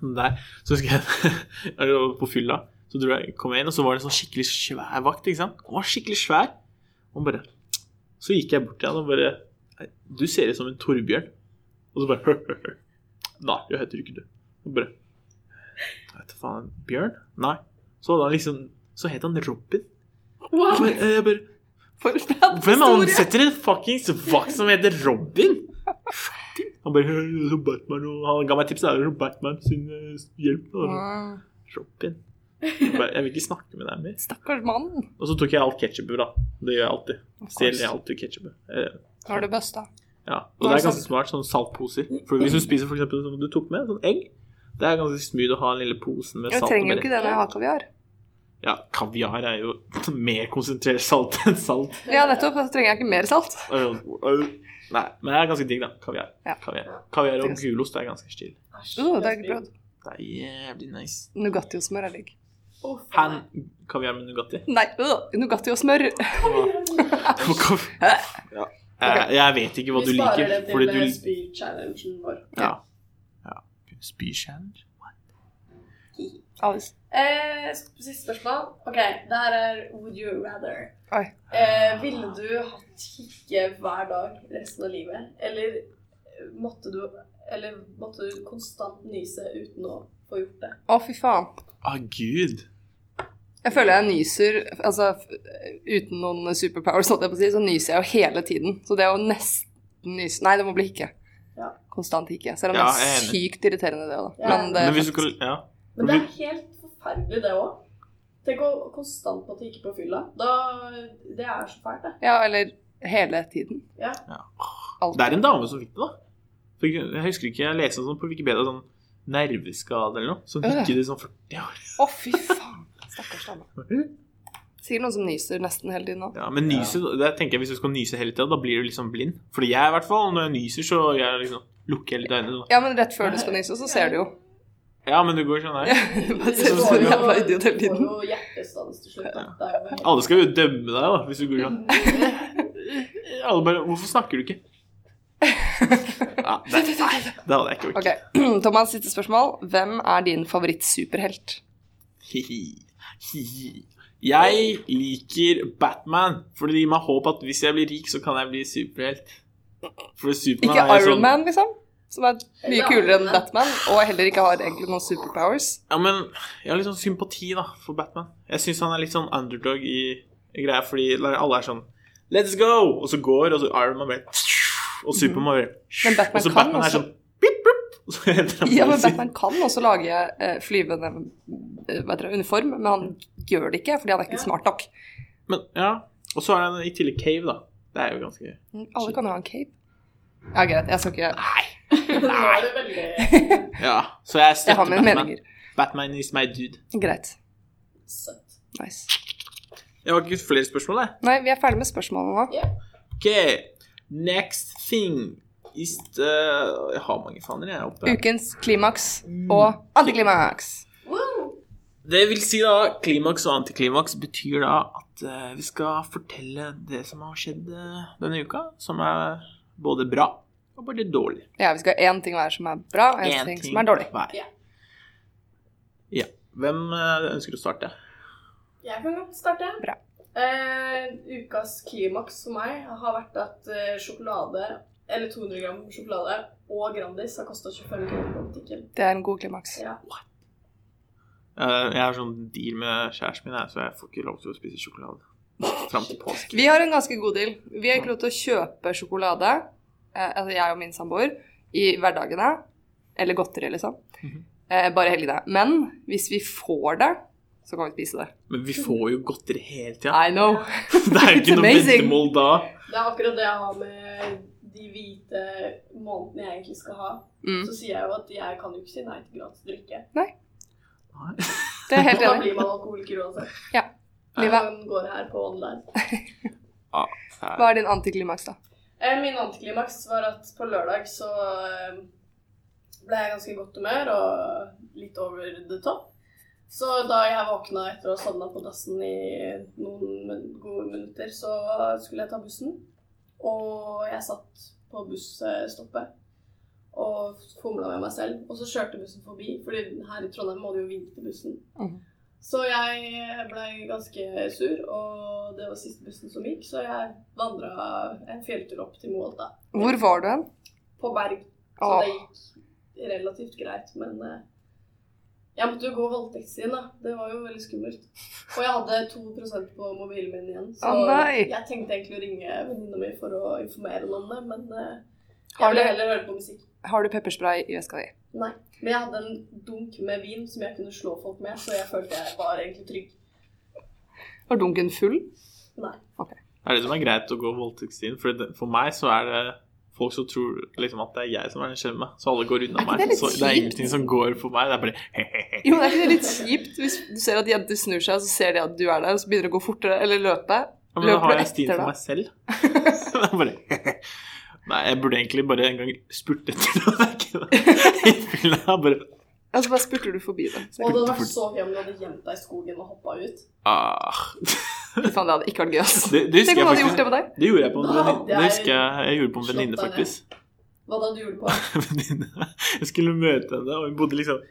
Speaker 1: den der, så husker jeg jeg var på fylla. Så dro jeg, kom jeg inn, og så var det en sånn skikkelig svær vakt. ikke sant? Han var skikkelig svær. Og bare, Så gikk jeg bort til han og bare «Nei, Du ser ut som en torbjørn. Og så bare Nei, jeg heter ikke du. Og bare Jeg vet da faen. Bjørn? Nei. Så hadde han liksom Så het han Robin. Og bare- Jeg bare
Speaker 2: For en
Speaker 1: hvem
Speaker 2: historie.
Speaker 1: ansetter en fuckings vakt som heter Robin? Han bare «Øh, så Batman, og han ga meg tips. Det er jo Batman sin eh, hjelp. Da.
Speaker 2: Mm,
Speaker 1: Robin. Jeg bare, Jeg vil ikke snakke med deg mer.
Speaker 2: Stakkars mann.
Speaker 1: Og så tok jeg alt ketsjupet, da. Det gjør jeg alltid. Stjeler jeg
Speaker 2: Nå
Speaker 1: alltid ketsjupet. Eh,
Speaker 2: har du busta.
Speaker 1: Ja. Og det er ganske smart. Sånn saltposer. For hvis du spiser for eksempel som du tok med, sånn egg, det er ganske smooth å ha den lille posen med
Speaker 2: Jeg
Speaker 1: salt.
Speaker 2: trenger jo
Speaker 1: oppi.
Speaker 2: ikke det når jeg har kaviar.
Speaker 1: Ja, kaviar er jo mer konsentrert salt enn salt.
Speaker 2: Ja, nettopp. Da trenger jeg ikke mer salt.
Speaker 1: Øh, øh. Nei, men det er ganske digg, da. Kaviar.
Speaker 2: Ja.
Speaker 1: Kaviar. Kaviar og gulost er ganske chill.
Speaker 3: Æsj.
Speaker 2: Uh, det er ikke bra.
Speaker 1: Det er jævlig nice.
Speaker 2: Nugatti og smør er digg.
Speaker 3: Å, faen.
Speaker 1: Han kaviar med Nugatti.
Speaker 2: Nei, uh, Nugatti og smør.
Speaker 1: ja. Eh, Jeg vet ikke hva du
Speaker 3: Vi sparer
Speaker 1: liker,
Speaker 3: det
Speaker 1: fordi
Speaker 3: til
Speaker 1: du
Speaker 3: eh, spy-challengen vår.
Speaker 1: Ja. ja. Spychallenge?
Speaker 2: Alice.
Speaker 3: Eh, siste spørsmål. Ok, det her er Would you rather?
Speaker 2: Oi.
Speaker 3: Eh, ville du hatt hikke hver dag resten av livet? Eller måtte du, eller måtte du konstant nyse uten å få gjort det?
Speaker 2: Å, fy faen.
Speaker 1: Å, gud.
Speaker 2: Jeg føler jeg nyser altså, f- uten noen superpowers, holdt jeg på å si, så nyser jeg jo hele tiden. Så det å nesten nyse Nei, det må bli hikke.
Speaker 3: Ja.
Speaker 2: Konstant hikke. Selv om
Speaker 1: Ja,
Speaker 2: det
Speaker 1: jeg
Speaker 2: er
Speaker 1: er
Speaker 2: sykt irriterende, det òg, da.
Speaker 3: Ja.
Speaker 2: Men det
Speaker 1: Men
Speaker 2: er
Speaker 1: hvis du
Speaker 2: faktisk-
Speaker 1: kan Ja.
Speaker 3: Men det er helt forferdelig, det òg. Tenk å konstant måtte hikke på fylla. Da, det er så fælt, det.
Speaker 2: Ja, eller hele tiden.
Speaker 3: Ja.
Speaker 1: Ja.
Speaker 2: Alt.
Speaker 1: Det er en dame som fikk det, da. For Jeg jeg husker ikke, jeg leste sånn på Wikipedia sånn nerveskade eller noe. Som
Speaker 2: Øh.
Speaker 1: fikk det sånn 40 år.
Speaker 2: Å, fy faen. Stakkars dame. Sikkert noen som nyser nesten hele tiden nå.
Speaker 1: Ja, men nyse, det tenker jeg Hvis du skal nyse hele tida, da blir du liksom blind. Fordi jeg, i hvert fall, når jeg nyser, så jeg liksom lukker jeg litt øynene. da.
Speaker 2: Ja, men rett før du skal nyse, så ser du jo.
Speaker 1: Ja, men du går sånn her.
Speaker 2: Bare
Speaker 3: Du
Speaker 2: ser ut som
Speaker 3: får
Speaker 2: en
Speaker 3: jo-
Speaker 2: jævla idiot hele
Speaker 3: får
Speaker 2: tiden.
Speaker 3: jo hjertestans til slutt. Da. Det er jo helt-
Speaker 1: Alle skal jo dømme deg, da, hvis du går sånn. Alle bare Hvorfor snakker du ikke? Ja, det, nei, det hadde jeg ikke
Speaker 2: Ok,
Speaker 1: orket.
Speaker 2: Thomas, siste spørsmål. Hvem er din favorittsuperhelt?
Speaker 1: Hihi. Hihi. Jeg liker Batman, for det gir meg håp at hvis jeg blir rik, så kan jeg bli superhelt. For Superman
Speaker 2: Ikke
Speaker 1: er jo
Speaker 2: Iron
Speaker 1: sånn
Speaker 2: Man, liksom? Som er mye
Speaker 3: Eller
Speaker 2: kulere enn
Speaker 3: Iron Man.
Speaker 2: Batman, og heller ikke har egentlig noen superpowers.
Speaker 1: Ja, men jeg har litt sånn sympati da for Batman. Jeg syns han er litt sånn underdog i i greia, fordi alle er sånn Let's go! Og så går, og så Iron Man bare Og Superman bare
Speaker 2: Mm. Men Batman
Speaker 1: Og så
Speaker 2: kan
Speaker 1: Batman er
Speaker 2: også-
Speaker 1: sånn «Bip, bip», Og så henter han
Speaker 2: Ja, men
Speaker 1: posen.
Speaker 2: Batman kan også lage eh, flyvende eh, hva heter det, uniform, men han gjør det ikke, fordi han er ikke
Speaker 3: Ja.
Speaker 2: smart nok.
Speaker 1: Men, ja. Og så er han i tillegg Cave, da. Det er jo ganske gøy.
Speaker 2: Alle kan ha en cape. Ja, greit. Jeg skal ikke
Speaker 3: Nå er det veldig
Speaker 1: Ja, så jeg
Speaker 2: Jeg
Speaker 1: støtter
Speaker 2: har mine
Speaker 1: Batman.
Speaker 2: meninger.
Speaker 1: Batman is my dude.
Speaker 2: Greit.
Speaker 3: søtt.
Speaker 2: Nice.
Speaker 1: Jeg har ikke flere spørsmål, jeg.
Speaker 2: Nei, vi er ferdig med spørsmålene nå.
Speaker 1: OK. Next thing is the Jeg har mange faner, jeg, oppe.
Speaker 2: Ukens klimaks og antiklimaks.
Speaker 3: Wow.
Speaker 1: Det vil si da, klimaks og antiklimaks betyr da at eh, vi skal fortelle det som har skjedd eh, denne uka, som er både bra og bare dårlig.
Speaker 2: Ja, vi skal ha én ting hver som er bra, og én
Speaker 1: En
Speaker 2: ting som er dårlig.
Speaker 1: hver.
Speaker 3: Ja.
Speaker 1: Ja. Hvem eh, ønsker å starte?
Speaker 3: Jeg kan godt starte.
Speaker 2: Bra.
Speaker 3: Eh, ukas klimaks for meg har vært at eh, sjokolade, eller 200 gram sjokolade og Grandis har kosta 25 kroner på butikken.
Speaker 2: Det er en god klimaks.
Speaker 3: Ja.
Speaker 1: Eh, jeg har sånn deal med kjæresten min, jeg, så jeg får ikke lov til å spise sjokolade fram til påske.
Speaker 2: Vi har en ganske god deal. Vi har ikke lov til å kjøpe sjokolade, eh, altså jeg og min samboer, i hverdagene. Eller godteri, liksom.
Speaker 1: Mhm.
Speaker 2: Eh, bare helgene. Men hvis vi får det, så kan vi spise det.
Speaker 1: Men vi får jo godteri hele tida.
Speaker 2: I know.
Speaker 1: Det er jo ikke noe
Speaker 2: Amazing.
Speaker 1: veddemål da.
Speaker 3: Det er akkurat det jeg har med de hvite månedene jeg egentlig skal ha.
Speaker 2: Mm.
Speaker 3: Så sier jeg jo at jeg kan jo ikke si nei til gratis drikke.
Speaker 2: Det er jeg helt
Speaker 3: Da
Speaker 2: enig.
Speaker 3: blir man alkoholiker uansett.
Speaker 2: Liva,
Speaker 3: Man går her på online.
Speaker 2: hva er din antiklimaks, da?
Speaker 3: Eh, Min antiklimaks var at på lørdag så eh, ble jeg i ganske i godt humør og litt over the top. Så da jeg våkna etter å ha sovna på dassen i noen min- gode minutter, så skulle jeg ta bussen. Og jeg satt på busstoppet og fomla med meg selv. Og så kjørte bussen forbi, fordi her i Trondheim må du jo vinke til bussen.
Speaker 2: Mhm.
Speaker 3: Så jeg ble ganske sur, og det var siste bussen som gikk, så jeg vandra en fjelltur opp til Moelta.
Speaker 2: Hvor var du hen?
Speaker 3: På Berg. Så
Speaker 2: Åh.
Speaker 3: det gikk relativt greit, men eh, jeg måtte jo gå voldtektsstien, da. Det var jo veldig skummelt. Og jeg hadde 2 på mobilen min igjen, så
Speaker 2: Å, Ah, nei.
Speaker 3: jeg tenkte egentlig å ringe venninna mi for å informere henne om det, men eh,
Speaker 2: Har
Speaker 3: jeg ville
Speaker 2: du-
Speaker 3: heller høre på musikk.
Speaker 2: Har du pepperspray i veska di?
Speaker 3: Nei. Men jeg hadde en dunk med vin som jeg kunne slå folk med, så jeg følte jeg var egentlig trygg.
Speaker 2: Var dunken full?
Speaker 3: Nei.
Speaker 1: Det er det som er greit å gå voldtektsstien. For, det- for meg så er det folk som tror liksom at det er jeg som er den slemme, så alle går unna
Speaker 2: Er ikke
Speaker 1: meg.
Speaker 2: det litt
Speaker 1: så det er
Speaker 2: kjipt?
Speaker 1: ingenting som går for meg. Det er bare he-he-he.
Speaker 2: Jo, men er ikke det litt kjipt hvis du ser at jenter snur seg, og så ser de at du er der, og så begynner de å gå fortere eller løpe?
Speaker 1: Ja, Men da
Speaker 2: Løper
Speaker 1: har
Speaker 2: du
Speaker 1: jeg stien
Speaker 2: etter
Speaker 1: for
Speaker 2: da?
Speaker 1: meg selv. Det er bare he-he. Nei, jeg burde egentlig bare en gang spurte etter det. det. er ikke det. Jeg ville ha bare
Speaker 2: Og så Altså, bare spurter du forbi det.
Speaker 3: Og det hadde vært så gøy om du hadde gjemt deg i skogen og hoppa ut.
Speaker 1: ah.
Speaker 2: Fy faen, det hadde ikke vært gøy, ass.
Speaker 1: det, det
Speaker 2: Tenk
Speaker 1: husker jeg
Speaker 2: om han hadde gjort det
Speaker 1: faktisk.
Speaker 2: med deg.
Speaker 1: Det gjorde jeg på en
Speaker 3: Da
Speaker 1: venninne.
Speaker 3: hadde
Speaker 1: Det
Speaker 3: jeg
Speaker 1: husker jeg jeg gjorde på en venninne,
Speaker 3: slått deg ned.
Speaker 1: faktisk.
Speaker 3: Hva da du gjorde på?
Speaker 1: venninne. Jeg skulle møte henne, og hun bodde liksom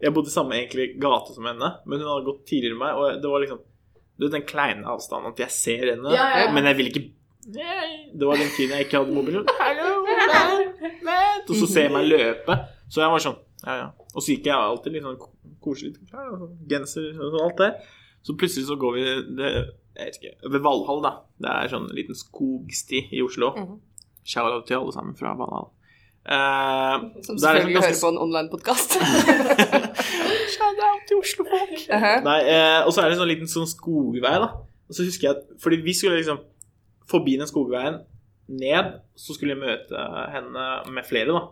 Speaker 1: Jeg bodde i samme egentlig gate som henne, men hun hadde gått tidligere enn meg, og det var liksom Du vet den kleine avstanden at jeg ser henne,
Speaker 3: Ja, ja, ja.
Speaker 1: men jeg vil ikke Nei. Det var den tiden jeg ikke hadde mobil. sånn, «Hallo, vent, vent», Og så ser jeg meg løpe. Så jeg var sånn Ja, ja. Og så gikk jeg alltid litt sånn ko- koselig. ja, ja, Genser og sånn, alt det. Så plutselig så går vi det, jeg vet ikke, ved Valhall, da. Det er sånn liten skogsti i Oslo.
Speaker 2: Mhm.
Speaker 1: Shout out til alle sammen fra Valhall. Eh, Det er liksom
Speaker 2: Som selvfølgelig
Speaker 1: ganske-
Speaker 2: hører på en online-podkast.
Speaker 1: Eh, Shout out til Oslo-folk. Nei, eh, og så er det en sånn liten sånn skogvei, da. Og så husker jeg at Fordi vi skulle liksom forbi den skogveien, ned, så skulle jeg møte henne med flere, da.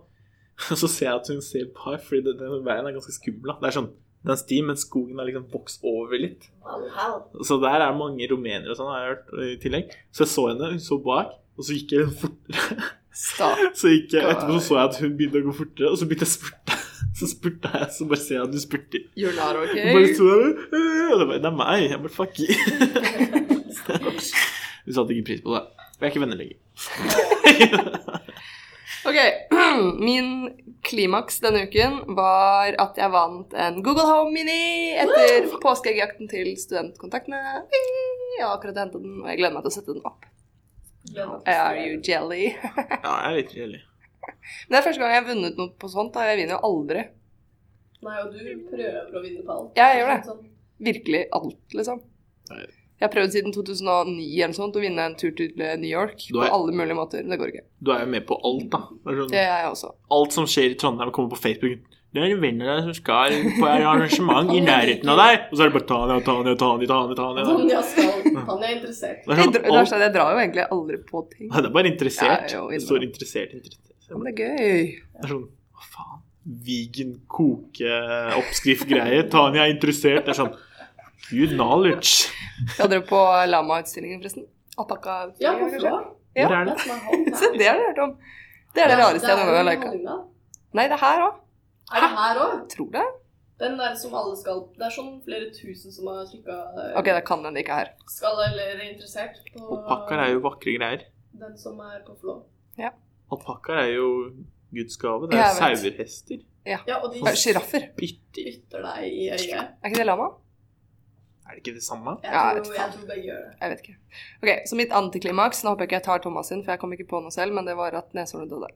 Speaker 1: Og så ser jeg at hun ser par, fordi den, den veien er ganske skummel. da. Det er sånn Det er en sti, men skogen har liksom vokst over litt.
Speaker 3: Wow.
Speaker 1: Så der er mange rumenere og sånn, har jeg hørt, i tillegg. Så jeg så henne, hun så bak, og så gikk jeg fortere.
Speaker 2: Stakkar.
Speaker 1: Så gikk jeg, etterpå så, så jeg at hun begynte å gå fortere, og så begynte jeg å spurte. Så spurte jeg, så bare ser jeg at du spurter.
Speaker 2: You're not
Speaker 1: Og bare
Speaker 2: okay.
Speaker 1: sto der, «Øh», og det, bare, det er meg. Jeg bare fuck you. Stakkars. Hun satte ikke pris på det. Vi er ikke venner lenger.
Speaker 2: Ok, min klimaks denne uken var at jeg vant en Google Home Mini etter påskeeggjakten til studentkontaktene. Jeg har akkurat hentet den, og jeg gleder meg til å sette den opp. Are you jelly?
Speaker 1: Ja, jeg er litt kjedelig.
Speaker 2: Men det er første gang jeg har vunnet noe på sånt, da. Jeg vinner jo aldri.
Speaker 3: Nei, og du prøver å vinne på alt.
Speaker 2: Ja, jeg gjør det.
Speaker 3: Sånn,
Speaker 2: Virkelig alt, liksom.
Speaker 1: Nei.
Speaker 2: Jeg har prøvd siden 2009 eller noe sånt å vinne en tur til eh, New York
Speaker 1: Du
Speaker 2: på
Speaker 1: er-
Speaker 2: alle mulige måter. Men det går ikke.
Speaker 1: Du er jo med på alt, da. Det er sånn,
Speaker 2: Det er jeg også.
Speaker 1: Alt som skjer i Trondheim, kommer på Facebook. Det er en venn av deg som skal på et arrangement i nærheten av deg. Og så er det bare Tanja, Tanja, Tanja, Tanja, Tanja.
Speaker 3: Tanja sånn, skal. Tanja er interessert.
Speaker 1: Det er,
Speaker 2: Jeg,
Speaker 1: sånn,
Speaker 2: dr- Altså, det er
Speaker 1: alt,
Speaker 2: sånn, jeg drar jo egentlig aldri på ting.
Speaker 1: Nei, det er bare interessert.
Speaker 2: Ja, jo,
Speaker 1: Det står interessert, interessert.
Speaker 2: Men det er gøy.
Speaker 1: Det er sånn Hva faen? Vegan koke-oppskrift-greie. Tanja er interessert. Det er sånn Good knowledge.
Speaker 2: Jeg hadde det på Lama-utstillingen, forresten.
Speaker 3: Ja,
Speaker 2: Alpaka-utstillingen,
Speaker 3: hvorfor da?
Speaker 1: Hvor
Speaker 2: Ja.
Speaker 1: er det?
Speaker 3: That's my home,
Speaker 2: Se,
Speaker 3: da.
Speaker 2: det har du hørt om. Det er det rareste jeg noen gang har
Speaker 3: Er
Speaker 2: lika.
Speaker 3: det Hallingdal?
Speaker 2: Nei, det er her òg.
Speaker 3: Er det her òg?
Speaker 2: Tror det.
Speaker 3: Den der som alle skal Det er sånn flere tusen som har trykka
Speaker 2: Ok, det kan hende det ikke er her.
Speaker 3: skal eller er interessert på
Speaker 1: Alpakkaer er jo vakre geier.
Speaker 3: den som er på Flå.
Speaker 1: Alpakkaer er jo Guds gave. Det er
Speaker 2: Jeg vet.
Speaker 1: sauerhester.
Speaker 3: Ja, og de
Speaker 2: Eh, Sjiraffer.
Speaker 1: Bytter.
Speaker 3: spytter deg i øyet.
Speaker 2: Er ikke det lama?
Speaker 1: Er det ikke det samme?
Speaker 3: Jeg,
Speaker 2: Ja, jeg vet
Speaker 3: tror, jeg tror begge gjør det.
Speaker 2: Jeg vet ikke. Ok, Så mitt antiklimaks Nå håper jeg ikke jeg tar Thomas sin, for jeg kom ikke på noe selv, men det var at neshornet døde.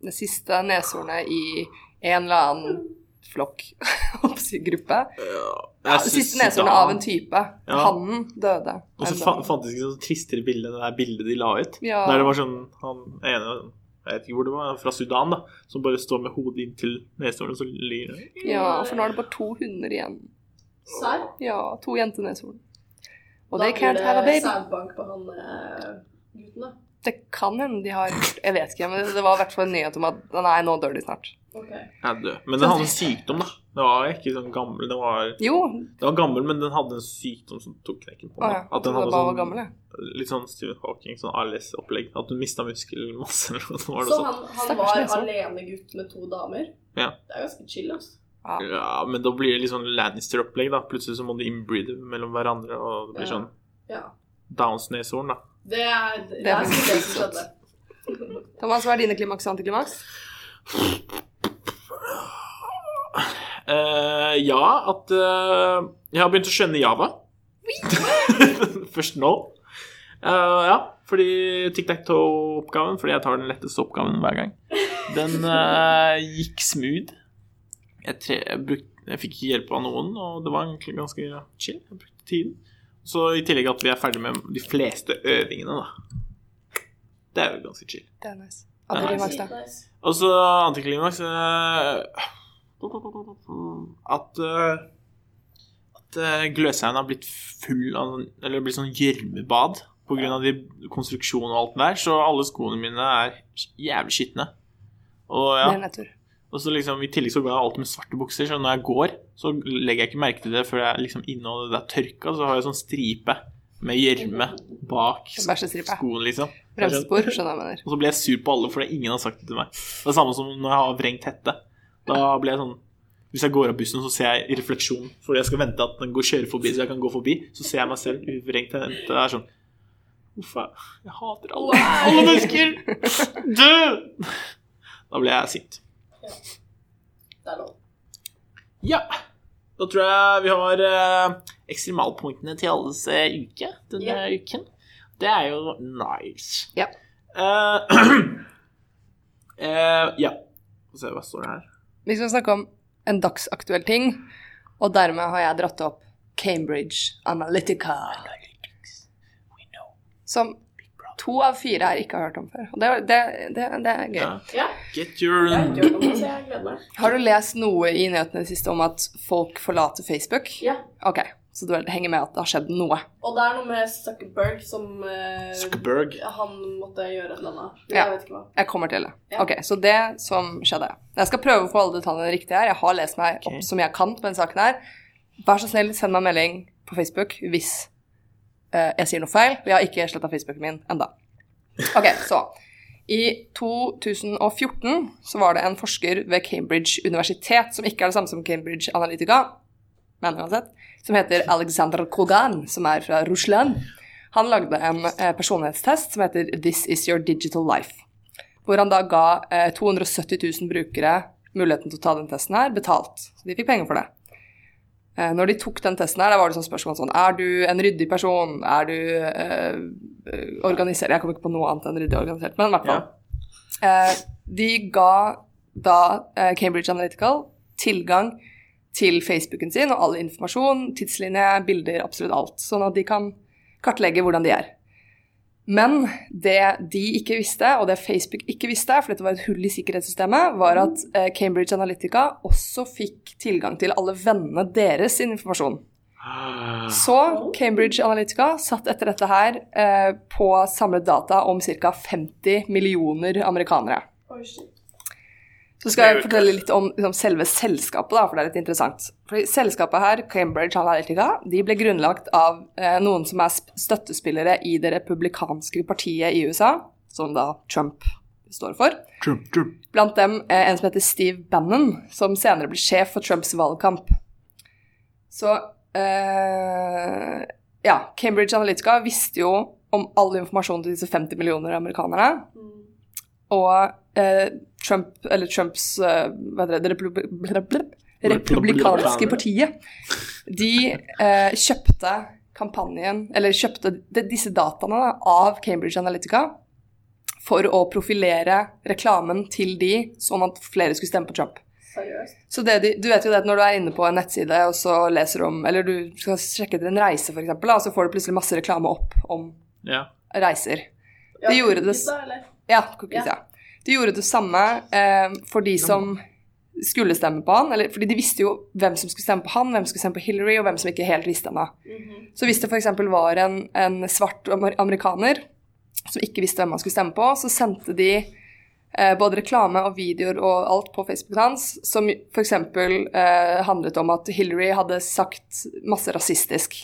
Speaker 2: Det siste neshornet i en eller annen flokk, holdt på å si, gruppe.
Speaker 1: Ja,
Speaker 2: Det siste neshornet av en type.
Speaker 1: Ja.
Speaker 2: Hannen døde.
Speaker 1: Og så fa fantes ikke sånn tristere bilde enn det der bildet de la ut.
Speaker 2: Ja.
Speaker 1: Der det var sånn han ene jeg vet ikke hvor det var, fra Sudan, da, som bare står med hodet inntil neshornet og så ligger det.
Speaker 2: ja, for nå er det bare to hunder igjen.
Speaker 3: Serr?
Speaker 2: Ja, to jenteneshorn. Og
Speaker 3: Da
Speaker 2: they
Speaker 3: blir
Speaker 2: can't
Speaker 3: det
Speaker 2: have a baby.
Speaker 3: sædbank på han eh, gutten, da.
Speaker 2: Det kan hende de har Jeg vet ikke, men det var i hvert fall en nyhet om at Nei, nå dør de snart.
Speaker 3: Ok.
Speaker 1: Jeg er død. Men den hadde en sykdom, da. Den var ikke sånn gammel. Den var,
Speaker 2: Jo.
Speaker 1: den var gammel, men den hadde en sykdom som tok knekken på
Speaker 2: Å
Speaker 1: meg.
Speaker 2: ja.
Speaker 1: At den
Speaker 2: Jeg trodde
Speaker 1: hadde
Speaker 2: jeg bare var
Speaker 1: sånn,
Speaker 2: gammel, jeg.
Speaker 1: litt sånn Stephen Hawking, sånn ALS-opplegg. At du mista muskelmasse eller noe sånt. var det
Speaker 3: Så
Speaker 1: sånn.
Speaker 3: han, han
Speaker 2: Stakkars
Speaker 3: var
Speaker 2: neshorn.
Speaker 3: alene gutt med to damer?
Speaker 1: Ja.
Speaker 3: Det er ganske chill, altså.
Speaker 2: Ja.
Speaker 1: Ja, men da blir det litt sånn Lannister-opplegg, da. Plutselig så må de inbreede mellom hverandre, og det blir
Speaker 3: Ja.
Speaker 1: sånn
Speaker 3: Ja.
Speaker 1: Downs-neshorn, da.
Speaker 3: Det er det,
Speaker 2: er
Speaker 3: er sikkert det som
Speaker 2: faktisk
Speaker 3: skjedde.
Speaker 2: Thomas, hva er dine klimaks og antiklimaks?
Speaker 1: Eh, ja, at eh, Jeg har begynt å skjønne Java. Først nå. Eh, ja, fordi tic-tac-toe-oppgaven, fordi jeg tar den letteste oppgaven hver gang, den eh, gikk smooth. Jeg, tre, jeg, bruk- jeg fikk ikke hjelp av noen, og det var egentlig ganske chill. Jeg brukte tiden. Så i tillegg at vi er ferdig med de fleste øvingene, da. Det er jo ganske chill.
Speaker 2: Det er nice.
Speaker 1: Ja,
Speaker 2: Antiklimaks, da.
Speaker 3: Nice.
Speaker 1: Og så antiklimaks eh, At eh, At eh, Gløshaugen har blitt full av sånn- Eller blitt sånn gjørmebad pga. konstruksjonen og alt det der. Så alle skoene mine er jævlig skitne. Og,
Speaker 2: Det
Speaker 1: ja.
Speaker 2: er en nedtur.
Speaker 1: og så liksom, i tillegg så går jeg alltid med svarte bukser, så når jeg går, så legger jeg ikke merke til det før jeg er liksom inne og det er tørka, så har jeg sånn stripe med gjørme bak
Speaker 2: En Bæsjestripe.
Speaker 1: skoen, liksom.
Speaker 2: Bremsespor, skjønner jeg hva jeg mener.
Speaker 1: Og så ble jeg sur på alle fordi ingen har sagt det til meg. Det er samme som når jeg har vrengt hette. Da ble jeg sånn Hvis jeg går av bussen, så ser jeg i refleksjon fordi jeg skal vente at den går kjører forbi, så jeg kan gå forbi, så ser jeg meg selv i vrengt hette. Det er sånn Uff, jeg- jeg hater alle, alle mennesker! Dø! Da ble jeg sint.
Speaker 3: Det er lov.
Speaker 1: Ja. Da tror jeg vi har eh, ekstremalpunktene til alles eh, uke denne
Speaker 3: Ja.
Speaker 1: uken. Det er jo nice.
Speaker 2: Ja.
Speaker 1: Eh, eh, ja. Få se, hva står det her?
Speaker 2: Vi skal snakke om en dagsaktuell ting, og dermed har jeg dratt opp Cambridge Analytica. Som to av fire her ikke har hørt om før. Og det, det, det, det er gøy.
Speaker 1: Ja.
Speaker 3: Ja,
Speaker 1: Get your
Speaker 3: jeg gjør noe, så jeg gleder meg.
Speaker 2: Har du lest noe i nyhetene siste om at folk forlater Facebook?
Speaker 3: Ja.
Speaker 2: Ok, Så det vel henger med at det har skjedd noe.
Speaker 3: Og det er noe med Zuckerberg som eh,
Speaker 1: Zuckerberg.
Speaker 3: Han måtte gjøre et eller annet. Jeg
Speaker 2: Ja.
Speaker 3: vet ikke hva.
Speaker 2: Jeg kommer til det.
Speaker 3: Ja.
Speaker 2: Ok, Så det som skjedde Jeg skal prøve å få alle detaljene riktig her. Jeg har lest meg
Speaker 1: Ok.
Speaker 2: opp som jeg kan på denne saken her. Vær så snill, send meg en melding på Facebook hvis eh, jeg sier noe feil. Jeg har ikke sletta Facebooken min enda. Ok, så I 2014 så var det en forsker ved Cambridge universitet, som ikke er det samme som Cambridge Analytica, men uansett, som heter Alexander Kogan, som er fra Russland. Han lagde en eh, personlighetstest som heter This is your digital life hvor han da ga eh, 270 000 brukere muligheten til å ta den testen her, betalt. Så de fikk penger for det. Eh, når de tok den testen her, da var det sånn spørsmål sånn Er du en ryddig person? Er du eh, eh, organisert? Jeg kommer ikke på noe annet enn ryddig og organisert, men i hvert fall. Eh, de ga da eh, Cambridge Analytical tilgang til Facebooken sin og all informasjon, tidslinje, bilder, absolutt alt. Sånn at de kan kartlegge hvordan de er. Men det de ikke visste, og det Facebook ikke visste, for dette var et hull i sikkerhetssystemet, var at eh, Cambridge Analytica også fikk tilgang til alle vennene deres sin informasjon. Så Cambridge Analytica satt etter dette her eh, på samlet data om ca. 50 millioner amerikanere.
Speaker 3: Oi, shit.
Speaker 2: Så skal jeg
Speaker 1: Det er jo
Speaker 2: fortelle litt om liksom, selve selskapet, da, for det er litt interessant. Fordi selskapet her, Cambridge Analytica, de ble grunnlagt av eh, noen som er sp- støttespillere i det republikanske partiet i USA, som da Trump står for.
Speaker 1: Trump, Trump.
Speaker 2: Blant dem eh, en som heter Steve Bannon, som senere ble sjef for Trumps valgkamp. Så eh, ja, Cambridge Analytica visste jo om all informasjon til disse 50 millioner amerikanerne.
Speaker 3: Mm.
Speaker 2: Og eh, Trump, eller Trumps eh, hva heter det, det republi blub- blub- republikanske partiet, de eh, kjøpte kampanjen, eller kjøpte de, disse dataene da, av Cambridge Analytica for å profilere reklamen til de, sånn at flere skulle stemme på Trump.
Speaker 3: Seriøst.
Speaker 2: Så det de, du vet jo det at når du er inne på en nettside og så leser om, eller du skal sjekke etter en reise for eksempel, da, så får du plutselig masse reklame opp om
Speaker 1: Ja.
Speaker 2: reiser.
Speaker 3: Ja,
Speaker 2: De gjorde det
Speaker 3: cookies
Speaker 2: s-
Speaker 3: da, eller?
Speaker 2: Ja, cookies,
Speaker 3: Ja.
Speaker 2: ja. De gjorde det samme eh, for de som skulle stemme på han, eller fordi de visste jo hvem som skulle stemme på han, hvem som skulle stemme på Hillary, og hvem som ikke helt visste ennå.
Speaker 3: Mhm.
Speaker 2: Så hvis det f.eks. var en, en svart amer- amerikaner som ikke visste hvem han skulle stemme på, så sendte de eh, både reklame og videoer og alt på Facebooken hans, som f.eks. Eh, handlet om at Hillary hadde sagt masse rasistisk,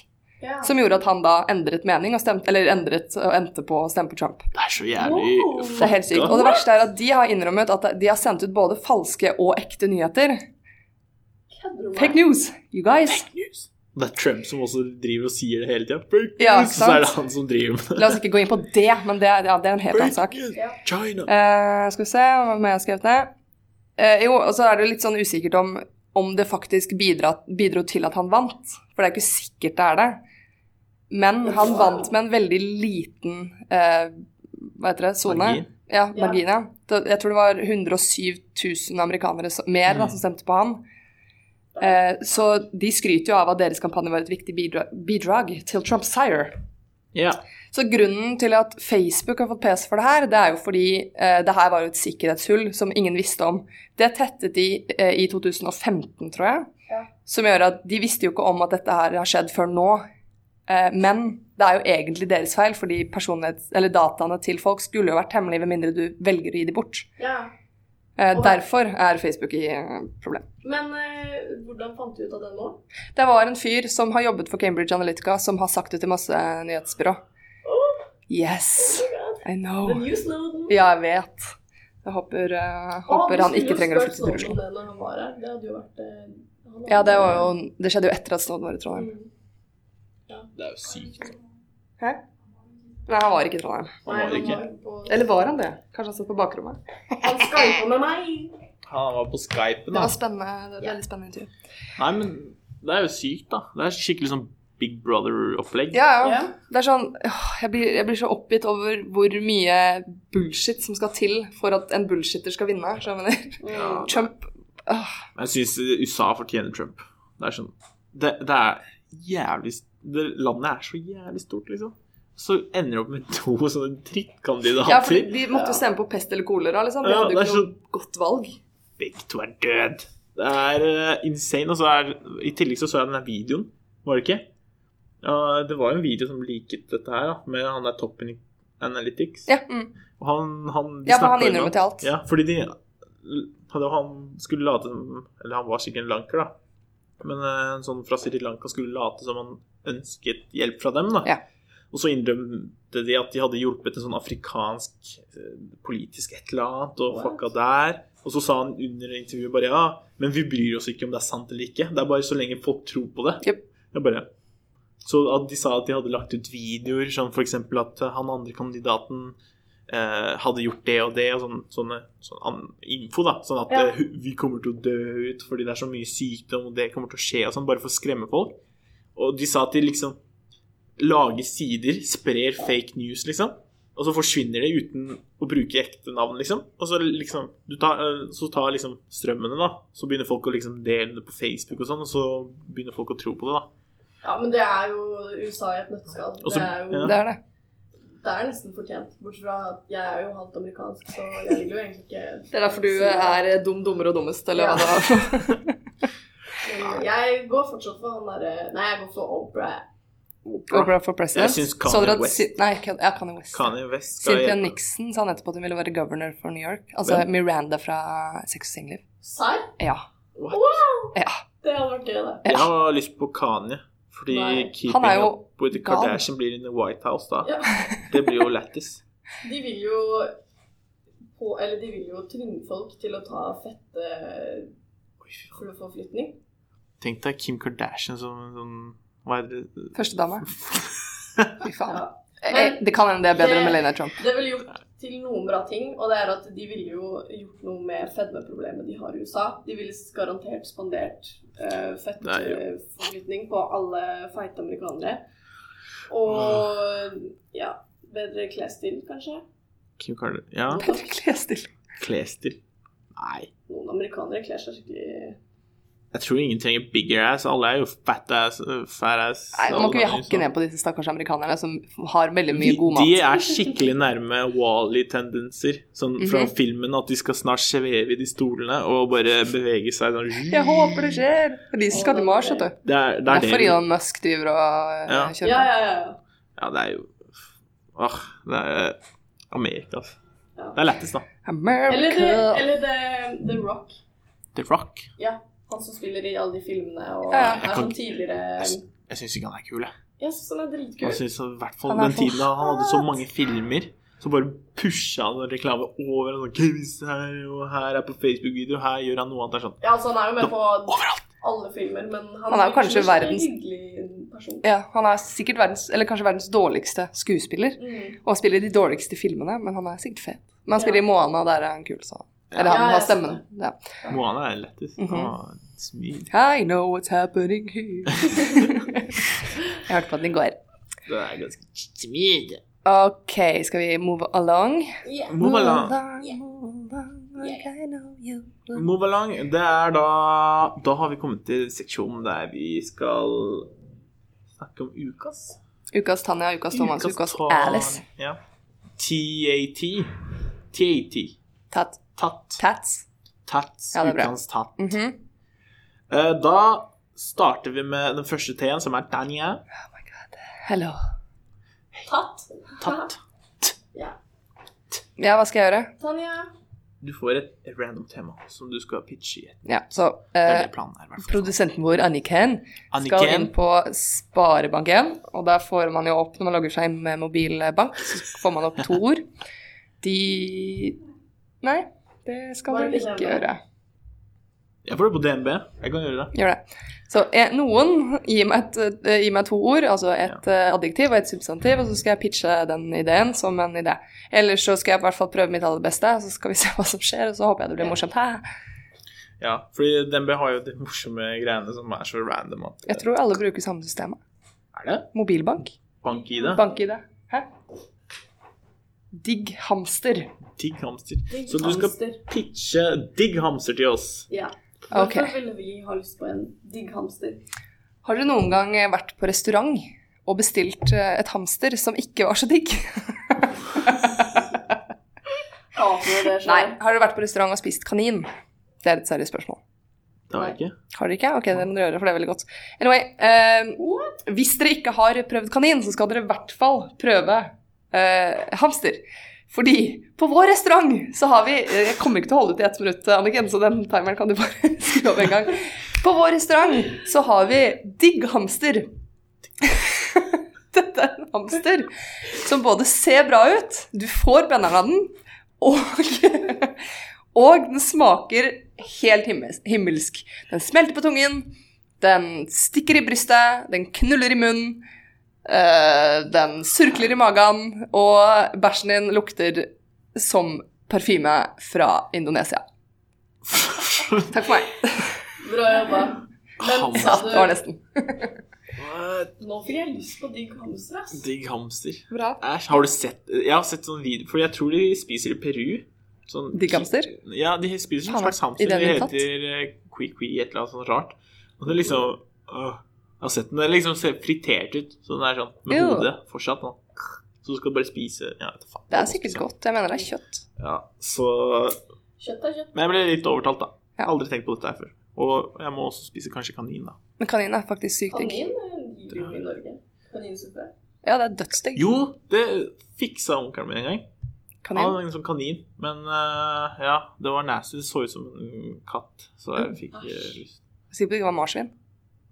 Speaker 3: Ja.
Speaker 2: som gjorde at han da endret mening og stemte, eller endret og endte på å stemme på Trump.
Speaker 1: Det er så jævlig
Speaker 3: Wow.
Speaker 1: fucka.
Speaker 2: Det er helt sykt. Og det verste er at de har innrømmet at de har sendt ut både falske og ekte nyheter.
Speaker 3: Kødder du med
Speaker 2: Fake
Speaker 3: meg?
Speaker 2: news, you guys.
Speaker 1: News. Det er Trump som også driver og sier det hele tida. Fake
Speaker 2: Ja,
Speaker 1: news!
Speaker 2: ikke
Speaker 1: Så
Speaker 2: sant?
Speaker 1: er det han som driver med det.
Speaker 2: La oss ikke gå inn på det, men det, er- ja, det er en helt annen sak.
Speaker 1: news!
Speaker 3: Ja.
Speaker 1: China!
Speaker 2: Eh, skal vi se hva mer jeg har skrevet ned. Eh, jo, og så er det jo litt sånn usikkert om, om det faktisk bidra, bidro til at han vant. For det er ikke sikkert det er det. Men han vant med en veldig liten eh, hva heter det, sone.
Speaker 1: Margin.
Speaker 2: Ja,
Speaker 3: Ja.
Speaker 2: margin, ja. Da- Jeg tror det var 107 000 amerikanere som- mer da, som stemte på han. Eh, så de skryter jo av at deres kampanje var et viktig bidra- bidrag til Trumps seier.
Speaker 1: Ja.
Speaker 2: Så grunnen til at Facebook har fått pes for det her, det er jo fordi eh, det her var jo et sikkerhetshull som ingen visste om. Det tettet de eh, i 2015, tror jeg,
Speaker 3: Ja.
Speaker 2: som gjør at de visste jo ikke om at dette her har skjedd før nå. Eh, men det er jo egentlig deres feil, fordi personlighets- eller dataene til folk skulle jo vært hemmelige med mindre du velger å gi de bort.
Speaker 3: ja.
Speaker 2: Eh,
Speaker 3: Og-
Speaker 2: derfor er Facebook i eh, problem.
Speaker 3: Men eh, hvordan fant du ut av det nå?
Speaker 2: Det var en fyr som har jobbet for Cambridge Analytica, som har sagt det til masse nyhetsbyrå. Yes, I know.
Speaker 3: The News Snowden.
Speaker 2: Ja, jeg vet. Jeg håper, eh,
Speaker 3: Å,
Speaker 2: håper
Speaker 3: du
Speaker 2: han
Speaker 3: skulle
Speaker 2: ikke
Speaker 3: jo
Speaker 2: trenger å
Speaker 3: spurt
Speaker 2: flytte til Russland.
Speaker 3: Snowden om Det når han var her. Det hadde jo vært eh,
Speaker 2: Ja,
Speaker 3: han
Speaker 2: det,
Speaker 3: hadde-
Speaker 2: var jo, det skjedde jo etter at Snowden var i Trondheim.
Speaker 3: Mm.
Speaker 1: Det er jo sykt.
Speaker 2: Hæ? Nei, han var ikke i Trondheim.
Speaker 1: Han var ikke
Speaker 3: jo på-
Speaker 2: Eller var han det? Kanskje han satt på bakrommet?
Speaker 3: Han skypa med meg!
Speaker 1: Han var på Skypen,
Speaker 2: Det
Speaker 1: da.
Speaker 2: var spennende, det var et veldig spennende intervju.
Speaker 1: Nei, men det er jo sykt, da. Det er skikkelig sånn Big Brother-opplegg.
Speaker 2: Ja, ja.
Speaker 3: Ja.
Speaker 2: Det er sånn, åh, jeg blir, jeg blir så oppgitt over hvor mye bullshit som skal til for at en bullshitter skal vinne. skjønner du hva jeg mener.
Speaker 1: Ja.
Speaker 2: Trump,
Speaker 1: Men Jeg syns USA fortjener Trump. Det er sånn Det, det er jævlig det, Landet er så jævlig stort, liksom. Så ender du opp med to sånne drittkandidater.
Speaker 2: ja, for de måtte jo stemme på pest eller kolera, liksom. De
Speaker 1: Ja,
Speaker 2: hadde
Speaker 1: det
Speaker 2: jo
Speaker 1: er
Speaker 2: ikke noe godt valg.
Speaker 1: Begge to er død. Det er eh, insane. Og så er I tillegg så, så jeg den der videoen, var det ikke? Ja, det var jo en video som liket dette her, da, med han der toppen i Analytics.
Speaker 2: Ja, mm.
Speaker 1: Og han, han, de
Speaker 2: ja for
Speaker 1: snakket
Speaker 2: han
Speaker 1: jo om-
Speaker 2: innrømmet alt.
Speaker 1: Ja, fordi de hadde, Han skulle late som Eller han var sikkert en lanker, da. Men eh, en sånn fra Sri Lanka skulle late som han ønsket hjelp fra dem. da
Speaker 2: Ja.
Speaker 1: Og så innrømte de at de hadde hjulpet en sånn afrikansk eh, politisk et eller annet, og
Speaker 3: What?
Speaker 1: fucka der. Og så sa han under intervjuet bare ja, men vi bryr oss ikke om det er sant eller ikke. Det er bare så lenge folk tror på det.
Speaker 2: Jep.
Speaker 1: Jeg bare Så at de sa at de hadde lagt ut videoer, sånn for eksempel at eh, han andre kandidaten eh, hadde gjort det og det, og sånn, sånne, sånn an- info, da. Sånn at
Speaker 3: Ja.
Speaker 1: eh, vi kommer til å dø ut fordi det er så mye sykdom, og det kommer til å skje, og sånn, bare for å skremme folk. Og de sa at de liksom lager sider, sprer fake news, liksom. Og så forsvinner det uten å bruke ekte navn, liksom. Og så liksom, du tar, eh, så tar liksom strømmene, da. Så begynner folk å liksom dele det på Facebook og sånn, og så begynner folk å tro på det, da.
Speaker 3: Ja, men det er jo USA i et nøtteskall.
Speaker 1: Og så-
Speaker 3: Det er jo
Speaker 1: ja.
Speaker 2: Det er det.
Speaker 3: Det er nesten fortjent. Bortsett fra at jeg er jo halvt amerikansk, så jeg vil jo egentlig ikke
Speaker 2: Det er derfor du er dum, dummere og dummest, eller hva det var.
Speaker 3: Men Jeg går fortsatt for han derre Nei, jeg går for Oprah.
Speaker 2: Oprah for president.
Speaker 1: Jeg synes Kanye
Speaker 2: Så dere at
Speaker 1: West-
Speaker 2: Sy- Nei, Kan- ja, Kanye West.
Speaker 1: Kanye West skal
Speaker 2: Cynthia
Speaker 1: hete-
Speaker 2: Nixon sa nettopp at hun ville være governor for New York. Altså
Speaker 1: Hvem?
Speaker 2: Miranda fra Sex og singelliv.
Speaker 3: Serr?
Speaker 2: Ja. Eh,
Speaker 1: What?
Speaker 2: ja.
Speaker 3: Det hadde vært gøy, det.
Speaker 1: Jeg har lyst på Kanye. Fordi
Speaker 3: Nei.
Speaker 2: Han
Speaker 1: Keeping
Speaker 2: er jo
Speaker 1: Up with the
Speaker 2: gal.
Speaker 1: Kardashian blir in the White House da.
Speaker 3: Ja.
Speaker 1: Det blir jo lættis.
Speaker 3: De vil jo på, Eller de vil jo tvinge folk til å ta fette forflytning.
Speaker 1: Tenk deg Kim Kardashian som en sånn Hva er det
Speaker 2: Førstedame. Fy faen.
Speaker 3: Ja.
Speaker 2: Eh, Det kan hende det er bedre enn
Speaker 3: Det-
Speaker 2: Melania Trump.
Speaker 3: Det ville gjort til noen bra ting, og det er at de ville jo gjort noe med fedmeproblemet de har i USA. De ville garantert spandert uh,
Speaker 1: Nei, ja.
Speaker 3: fettforflytning på alle feite amerikanere. Og ja, bedre klesstil, kanskje.
Speaker 1: Kim Kardashian Ja,
Speaker 2: Bedre klesstil.
Speaker 1: klesstil. Nei.
Speaker 3: Noen amerikanere kler seg skikkelig
Speaker 1: Jeg tror ingen trenger bigger ass. Alle er jo fat ass, øh, fat ass.
Speaker 2: Nei, nå må
Speaker 1: Alle
Speaker 2: ikke
Speaker 1: kan
Speaker 2: vi
Speaker 1: jo
Speaker 2: hakke
Speaker 1: sånn.
Speaker 2: ned på disse stakkars amerikanerne som har veldig mye
Speaker 1: De-
Speaker 2: god mat.
Speaker 1: De er skikkelig nærme Wally-tendenser. Sånn fra
Speaker 2: Mhm.
Speaker 1: filmen at de skal snart sveve i de stolene og bare bevege seg sånn
Speaker 2: Jeg håper det skjer! For de som skal til Mars, vet du.
Speaker 1: Det er det. Er det.
Speaker 2: Derfor
Speaker 1: vi-
Speaker 2: Elon Musk driver og eh,
Speaker 1: Ja.
Speaker 3: Ja,
Speaker 2: kjører på.
Speaker 3: ja, ja.
Speaker 1: Ja, det er jo Åh, det er eh, Amerika, altså.
Speaker 3: Ja.
Speaker 1: Det er lettest, da.
Speaker 3: Eller, det,
Speaker 2: America!
Speaker 3: eller det, The Rock.
Speaker 1: The Rock.
Speaker 3: Ja, han som spiller i alle de filmene og
Speaker 2: Ja, ja.
Speaker 1: Jeg
Speaker 3: er
Speaker 1: kan-
Speaker 3: sånn tidligere
Speaker 1: Jeg, sy- jeg syns ikke han er kul, jeg.
Speaker 3: Jeg syns han er dritkul.
Speaker 1: Jeg synes, I hvert fall
Speaker 2: Han er
Speaker 1: den
Speaker 2: for
Speaker 1: tiden da han hadde så
Speaker 2: hot.
Speaker 1: mange filmer. Så bare pusha han en reklame over en sånn quiz her, og her er på Facebook-video, her gjør han noe annet. Det er sånn
Speaker 3: Ja, altså, han er jo med på
Speaker 1: overalt!
Speaker 3: alle filmer, men han,
Speaker 2: Han er jo
Speaker 3: virker
Speaker 2: kanskje
Speaker 3: som en
Speaker 2: verdens-
Speaker 3: hyggelig person.
Speaker 2: Ja, han er sikkert verdens, eller kanskje verdens dårligste skuespiller.
Speaker 3: Mm.
Speaker 2: Og han spiller i de dårligste filmene, men han er sikkert fet. Men han spiller
Speaker 3: Ja.
Speaker 2: i Moana, der er han kul, så. Eller
Speaker 3: Ja,
Speaker 2: han
Speaker 3: jeg
Speaker 2: har
Speaker 3: ser
Speaker 2: stemmen. Ja.
Speaker 1: Moana er lettest.
Speaker 2: Mhm.
Speaker 1: Å, smil.
Speaker 2: I know what's happening here. Jeg hørte på den i går.
Speaker 1: Det er ganske smid.
Speaker 2: Ok, skal vi move along?
Speaker 3: Yeah.
Speaker 1: Move along.
Speaker 2: move along, I know you will.
Speaker 1: Move along. Det er da Da har vi kommet til seksjonen der vi skal snakke om ukas.
Speaker 2: Ukas Tanja, ukas Thomas, ukas
Speaker 1: tar-
Speaker 2: Alice.
Speaker 1: Ja. TAT. TAT.
Speaker 2: Tat.
Speaker 1: Tatt.
Speaker 2: Tats.
Speaker 1: Tats.
Speaker 2: Ja, det er bra.
Speaker 1: Ukens tatt.
Speaker 2: Mhm.
Speaker 1: Eh, Da starter vi med den første T-en, som er Dania.
Speaker 2: Hello.
Speaker 3: Tatt.
Speaker 1: Tatt.
Speaker 3: Ja.
Speaker 2: Ja, hva skal jeg gjøre?
Speaker 3: Tanja.
Speaker 1: Du får et random tema som du skal pitche i.
Speaker 2: Ja, så
Speaker 1: Det
Speaker 2: eh,
Speaker 1: er det planen er, i hvert fall.
Speaker 2: Produsenten vår, Anniken, skal inn
Speaker 1: Anniken.
Speaker 2: på Sparebank1. Og der får man jo opp, når man logger seg inn med mobilbank, så får man opp to ord. De Nei, det skal
Speaker 3: Var
Speaker 2: man
Speaker 3: det
Speaker 2: ikke
Speaker 3: det?
Speaker 2: gjøre.
Speaker 1: Jeg får det på DNB. Jeg kan gjøre det.
Speaker 2: Gjør det. Så eh, noen gir meg, et, eh, gir meg to ord, altså et eh, adjektiv og et substantiv, og så skal jeg pitche den ideen som en idé. Ellers så skal jeg i hvert fall prøve mitt aller beste, og så skal vi se hva som skjer, og så håper jeg det blir morsomt. Hæ?
Speaker 1: Ja, fordi DNB har jo de morsomme greiene som er så random at
Speaker 2: Jeg tror alle bruker samme systemet.
Speaker 1: Er det?
Speaker 2: Mobilbank.
Speaker 1: Bank-ID?
Speaker 2: Bank-ID. Hæ? Digg hamster.
Speaker 1: Digg hamster.
Speaker 3: Digg
Speaker 1: Så du skal
Speaker 3: hamster.
Speaker 1: pitche digg hamster til oss.
Speaker 3: Ja.
Speaker 2: Ok.
Speaker 3: Hvorfor ville vi ha lyst på en digg hamster?
Speaker 2: Har dere noen gang eh, vært på restaurant og bestilt eh, et hamster som ikke var så digg?
Speaker 3: Hater det
Speaker 2: Nei.
Speaker 3: sjøl.
Speaker 2: Har dere vært på restaurant og spist kanin? Det er et seriøst spørsmål.
Speaker 1: Det har jeg ikke.
Speaker 2: Har dere ikke? Ok, det må dere gjøre, for det er veldig godt. Anyway, eh, hvis dere ikke har prøvd kanin, så skal dere i hvert fall prøve eh, hamster. Fordi på vår restaurant så har vi eh, Jeg kommer ikke til å holde ut i ett minutt, Anniken, så den timeren kan du bare skru opp en gang. På vår restaurant så har vi digg hamster. Dette er en hamster som både ser bra ut, du får benderen av den, og, og den smaker helt himmels- himmelsk. Den smelter på tungen, den stikker i brystet, den knuller i munnen, eh, den surkler i magen, og bæsjen din lukter som parfyme fra Indonesia. Takk for meg.
Speaker 3: Bra jobba. Men sa
Speaker 2: Det var
Speaker 3: du
Speaker 2: nesten.
Speaker 1: What?
Speaker 3: Nå fikk jeg lyst på digg hamster, ass.
Speaker 1: Digg hamster.
Speaker 2: Bra.
Speaker 1: Æsj. Har du sett Jeg har sett sånn video Fordi jeg tror de spiser i Peru. Sånn,
Speaker 2: Digg hamster?
Speaker 1: Ja, de spiser en
Speaker 2: Faen,
Speaker 1: slags hamster.
Speaker 2: i den
Speaker 1: Det
Speaker 2: inntatt?
Speaker 1: heter kui-kui, et eller annet sånt rart. Og det er liksom øh, Jeg har sett den. Det er liksom ser fritert ut. Så den er sånn med
Speaker 2: Jo.
Speaker 1: hodet fortsatt. Sånn. Så du skal bare spise Ja, vet du faen.
Speaker 2: Det er sikkert godt. Jeg mener det er kjøtt.
Speaker 1: Ja, så
Speaker 3: Kjøtt er kjøtt.
Speaker 1: Men jeg ble litt overtalt, da.
Speaker 2: Ja.
Speaker 1: Aldri tenkt på dette her før. Og jeg må også spise kanskje kanin, da.
Speaker 2: Men kanin er faktisk sykt digg.
Speaker 3: Kanin eh, liker jo vi i Norge. Kaninsuppe.
Speaker 2: Ja, det er dødsdigg.
Speaker 1: Jo, det fiksa onkelen min en gang. Han
Speaker 2: Kanin.
Speaker 1: hadde en sånn kanin, men eh, ja, det var nasty. Det så ut som en katt, så jeg fikk eh,
Speaker 3: Æsj.
Speaker 1: lyst
Speaker 2: Sikkert det ikke var marsvin.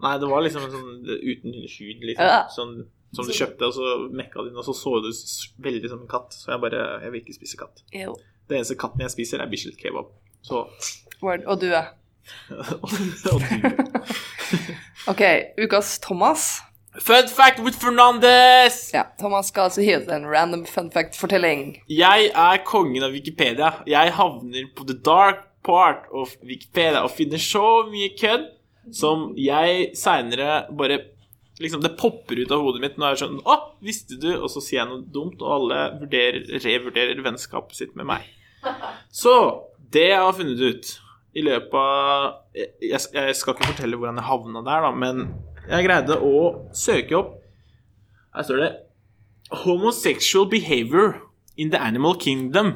Speaker 1: Nei, det var liksom en sånn uten hud, liksom.
Speaker 2: Ja.
Speaker 1: Sånn, som du kjøpte, og så mekka din, og så så du s- veldig som en katt. Så jeg bare Jeg vil ikke spise katt.
Speaker 2: Jo.
Speaker 1: Det eneste katten jeg spiser, er Bislett kebab. Så
Speaker 2: Word. Og du er.
Speaker 1: Og du.
Speaker 2: Ok, ukas Thomas.
Speaker 1: Fun fact with Fernandes!
Speaker 2: Ja, Thomas skal altså hive til en random fun fact-fortelling.
Speaker 1: Jeg er kongen av Wikipedia. Jeg havner på the dark part of Wikipedia og finner så mye kødd som jeg seinere bare Liksom, det popper ut av hodet mitt når jeg er sånn Å, visste du? Og så sier jeg noe dumt, og alle vurderer, revurderer vennskapet sitt med meg. Så det jeg har funnet ut i løpet av jeg, jeg- jeg skal ikke fortelle hvordan jeg havna der, da, men jeg greide å søke opp Her står det Homosexual behavior in the animal kingdom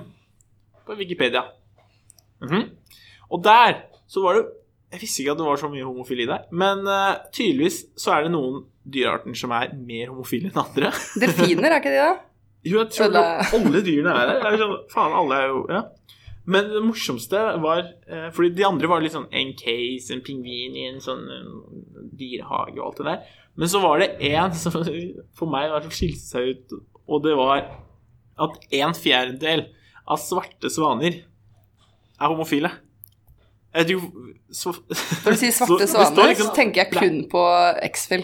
Speaker 1: på Wikipedia. Mhm. Og der så var det Jeg visste ikke at det var så mye homofili der, men eh, tydeligvis så er det noen dyrearter som er mer homofile enn andre.
Speaker 2: Delfiner, er ikke de det?
Speaker 1: Jo, jeg tror
Speaker 2: Eller-
Speaker 1: jo alle dyrene er her. Det er jo sånn, faen, alle er jo ja. Men det morsomste var eh, Fordi de andre var litt sånn en case, en pingvin i en sånn eh, dyrehage og alt det der. Men så var det én som for meg var som skilte seg ut, og det var at en fjerdedel av svarte svaner er homofile. Jeg tror så,
Speaker 2: Når du sier svarte
Speaker 1: Så det står
Speaker 2: svaner,
Speaker 1: liksom-
Speaker 2: så tenker jeg kun på X-Fill.